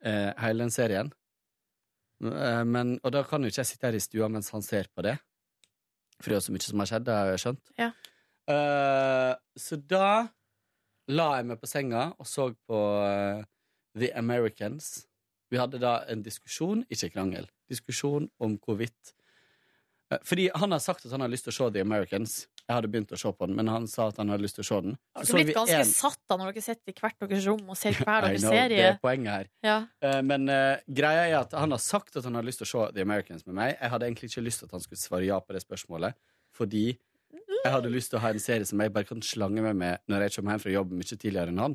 eh, hele den serien. Eh, men, og da kan jo ikke jeg sitte her i stua mens han ser på det. For det er jo så mye som har skjedd, det har jeg skjønt.
Ja.
Eh, så da la jeg meg på senga og så på eh, The Americans. Vi hadde da en diskusjon, ikke krangel, diskusjon om hvorvidt Eh, fordi han har sagt at han har lyst til å se The Americans. Jeg hadde begynt å se på den, men han sa at han hadde lyst til å se den.
Har
Så
dere blitt
vi
ganske
en-
satt da når dere sitter i hvert deres rom og ser hver
I
deres
know, Det
serie?
er poenget her.
Ja.
Eh, Men eh, greia er at han har sagt at han har lyst til å se The Americans med meg. Jeg hadde egentlig ikke lyst til at han skulle svare ja på det spørsmålet, fordi jeg hadde lyst til å ha en serie som jeg bare kan slange meg med når jeg kommer hjem fra jobb mye tidligere enn han.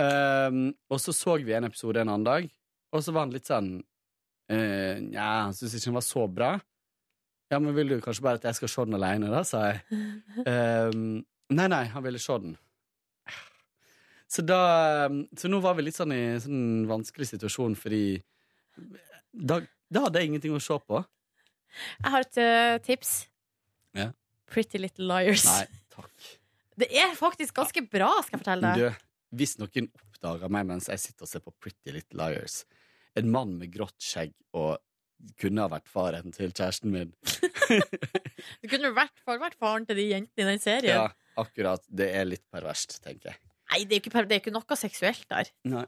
Ehm, og så så vi en episode en annen dag, og så var han litt sånn eh, Nja, han syntes ikke den var så bra. Ja, men vil du kanskje bare at jeg skal se den alene, da, sa jeg. Ehm, nei, nei, han ville se den. Så, da, eh, så nå var vi litt sånn i en sånn vanskelig situasjon, fordi da, da hadde jeg ingenting å se på.
Jeg har et eh, tips.
Ja.
Pretty Little Liars.
Nei, takk.
Det er faktisk ganske bra, skal jeg fortelle
Men
deg.
Du, hvis noen oppdager meg mens jeg sitter og ser på Pretty Little Liars En mann med grått skjegg og kunne ha vært faren til kjæresten min.
Du kunne i hvert fall vært faren til de jentene i den serien.
Ja, akkurat. Det er litt perverst, tenker jeg.
Nei, det er jo ikke, per- det er ikke noe seksuelt der.
Nei.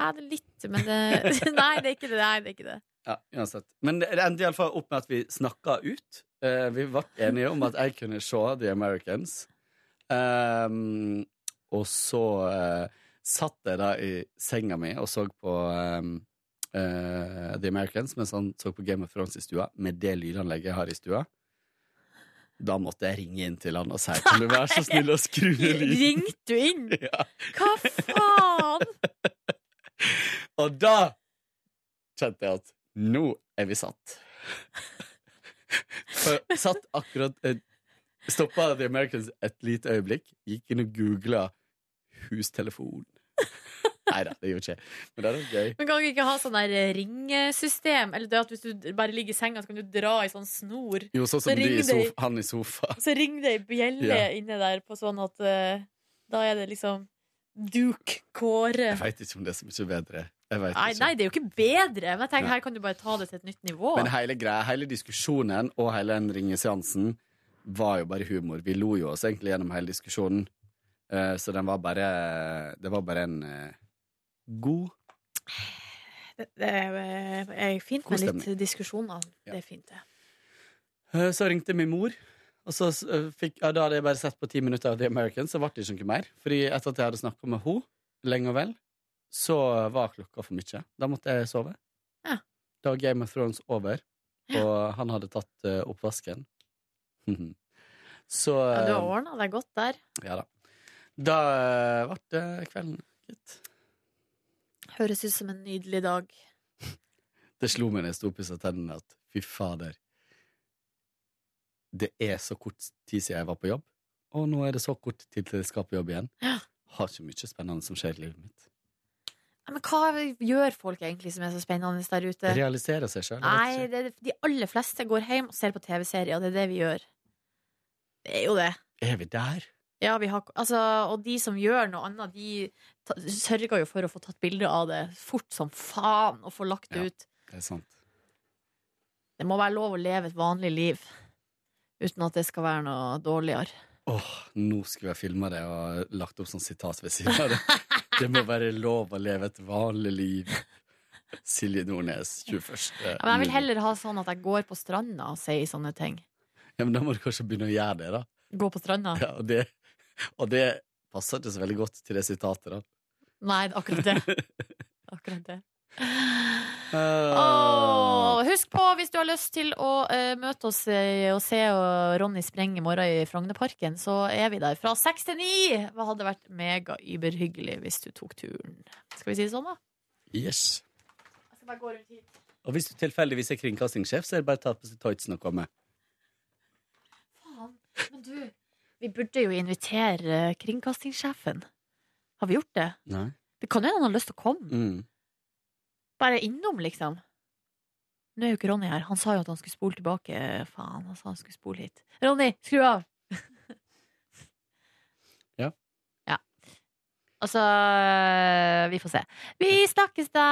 Ja, det er litt, men det Nei, det er ikke det. Nei, det er ikke det.
Ja, uansett. Men det det endte iallfall opp med at vi snakka ut. Eh, vi ble enige om at jeg kunne se The Americans. Ehm, og så eh, satt jeg da i senga mi og så på ehm, eh, The Americans mens han så på Game of Thrones i stua, med det lydanlegget jeg har i stua. Da måtte jeg ringe inn til han og si Kan du være så snill å skru ned lyden?
Ringte du inn?
Ja.
Hva faen?
Og da kjente jeg at nå er vi satt. For jeg satt akkurat eh, Stoppa The Americans et lite øyeblikk, gikk inn og googla 'hustelefon'. Nei da, det gjorde jeg ikke. Men det er jo gøy.
Men kan du ikke ha sånn der eh, ringesystem? Eller det at hvis du bare ligger i senga, så kan du dra i sånn snor.
Jo, sånn som
Så
de i
ring deg.
sof han i sofa.
Så ringer det ei bjelle
Ja.
inne der på sånn at eh, da er det liksom Duke Kåre.
Jeg veit ikke om det er så mye bedre. Jeg vet
Nei,
ikke.
nei, det er jo ikke bedre. Men jeg
Nei.
tenker, her kan du bare ta det til et nytt nivå.
Men hele greia, hele diskusjonen og hele den ringeseansen var jo bare humor. Vi lo jo oss egentlig gjennom hele diskusjonen. Eh, Så den var bare Det var bare en eh, god
Det, det er, eh, er fint
God
med litt
stemning.
diskusjoner.
Ja.
Det er fint, det.
Eh, Så ringte min mor, og så s- eh, fikk ja, Da hadde jeg bare sett på ti minutter av The Americans, så ble det ikke noe mer. Fordi etter at jeg hadde snakka med henne lenge og vel, så var klokka for mye. Da måtte jeg sove.
Ja.
Da var Game of Thrones over,
Ja.
og han hadde tatt eh, oppvasken. så
Ja, du
eh,
har ordna deg godt der.
Ja da. Da eh, ble det kvelden, gitt.
Høres ut som en nydelig dag.
Det slo meg da jeg sto og pussa tennene, at fy fader. Det er så kort tid siden jeg var på jobb, og nå er det så kort tid til jeg skal på jobb igjen.
Ja.
Har så mye spennende som skjer i livet mitt.
Ja, Men hva gjør folk egentlig som er så spennende der ute?
Realisere seg sjøl.
Nei, det, de aller fleste går hjem og ser på TV-serier. Det er det vi gjør. Det er jo det.
Er vi der?
Ja, vi har, altså, og de som gjør noe annet, de ta, sørger jo for å få tatt bilde av det fort som faen, og få lagt det
Ja.
ut.
Det er sant.
Det må være lov å leve et vanlig liv uten at det skal være noe dårligere.
Åh, nå skulle jeg filma det og lagt opp sånn sitat ved siden av det. Det må være lov å leve et vanlig liv. Silje Nordnes, 21.
Ja, Men jeg vil heller ha sånn at jeg går på stranda og sier sånne ting.
Ja, men da må du kanskje begynne å gjøre det, da.
Gå på stranda?
Ja, og, det, og det passer ikke så veldig godt til det sitatet. da.
Nei, det er akkurat det. Akkurat det.
Eh,
Åh, husk på, hvis du har lyst til å eh, møte oss eh, og se og Ronny sprenge i morgen i Frognerparken, så er vi der fra seks til ni! Det hadde vært mega-überhyggelig hvis du tok turen. Skal vi si det sånn, da?
Yes.
Jeg skal bare gå rundt hit.
Og hvis du tilfeldigvis er kringkastingssjef, så er det bare å ta på seg tightsen og komme.
Faen. Men du, vi burde jo invitere eh, kringkastingssjefen. Har vi gjort det?
Nei.
Det kan jo hende han har lyst til å komme.
Mm.
Bare innom, liksom. Nå er jo ikke Ronny her. Han sa jo at han skulle spole tilbake. Faen, han sa han skulle spole hit. Ronny, skru av!
Ja.
Ja. Altså Vi får se. Vi snakkes, da!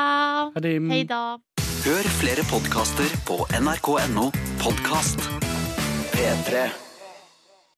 Ha det.
Hei, da.
Hør flere podkaster på nrk.no podkast. P3.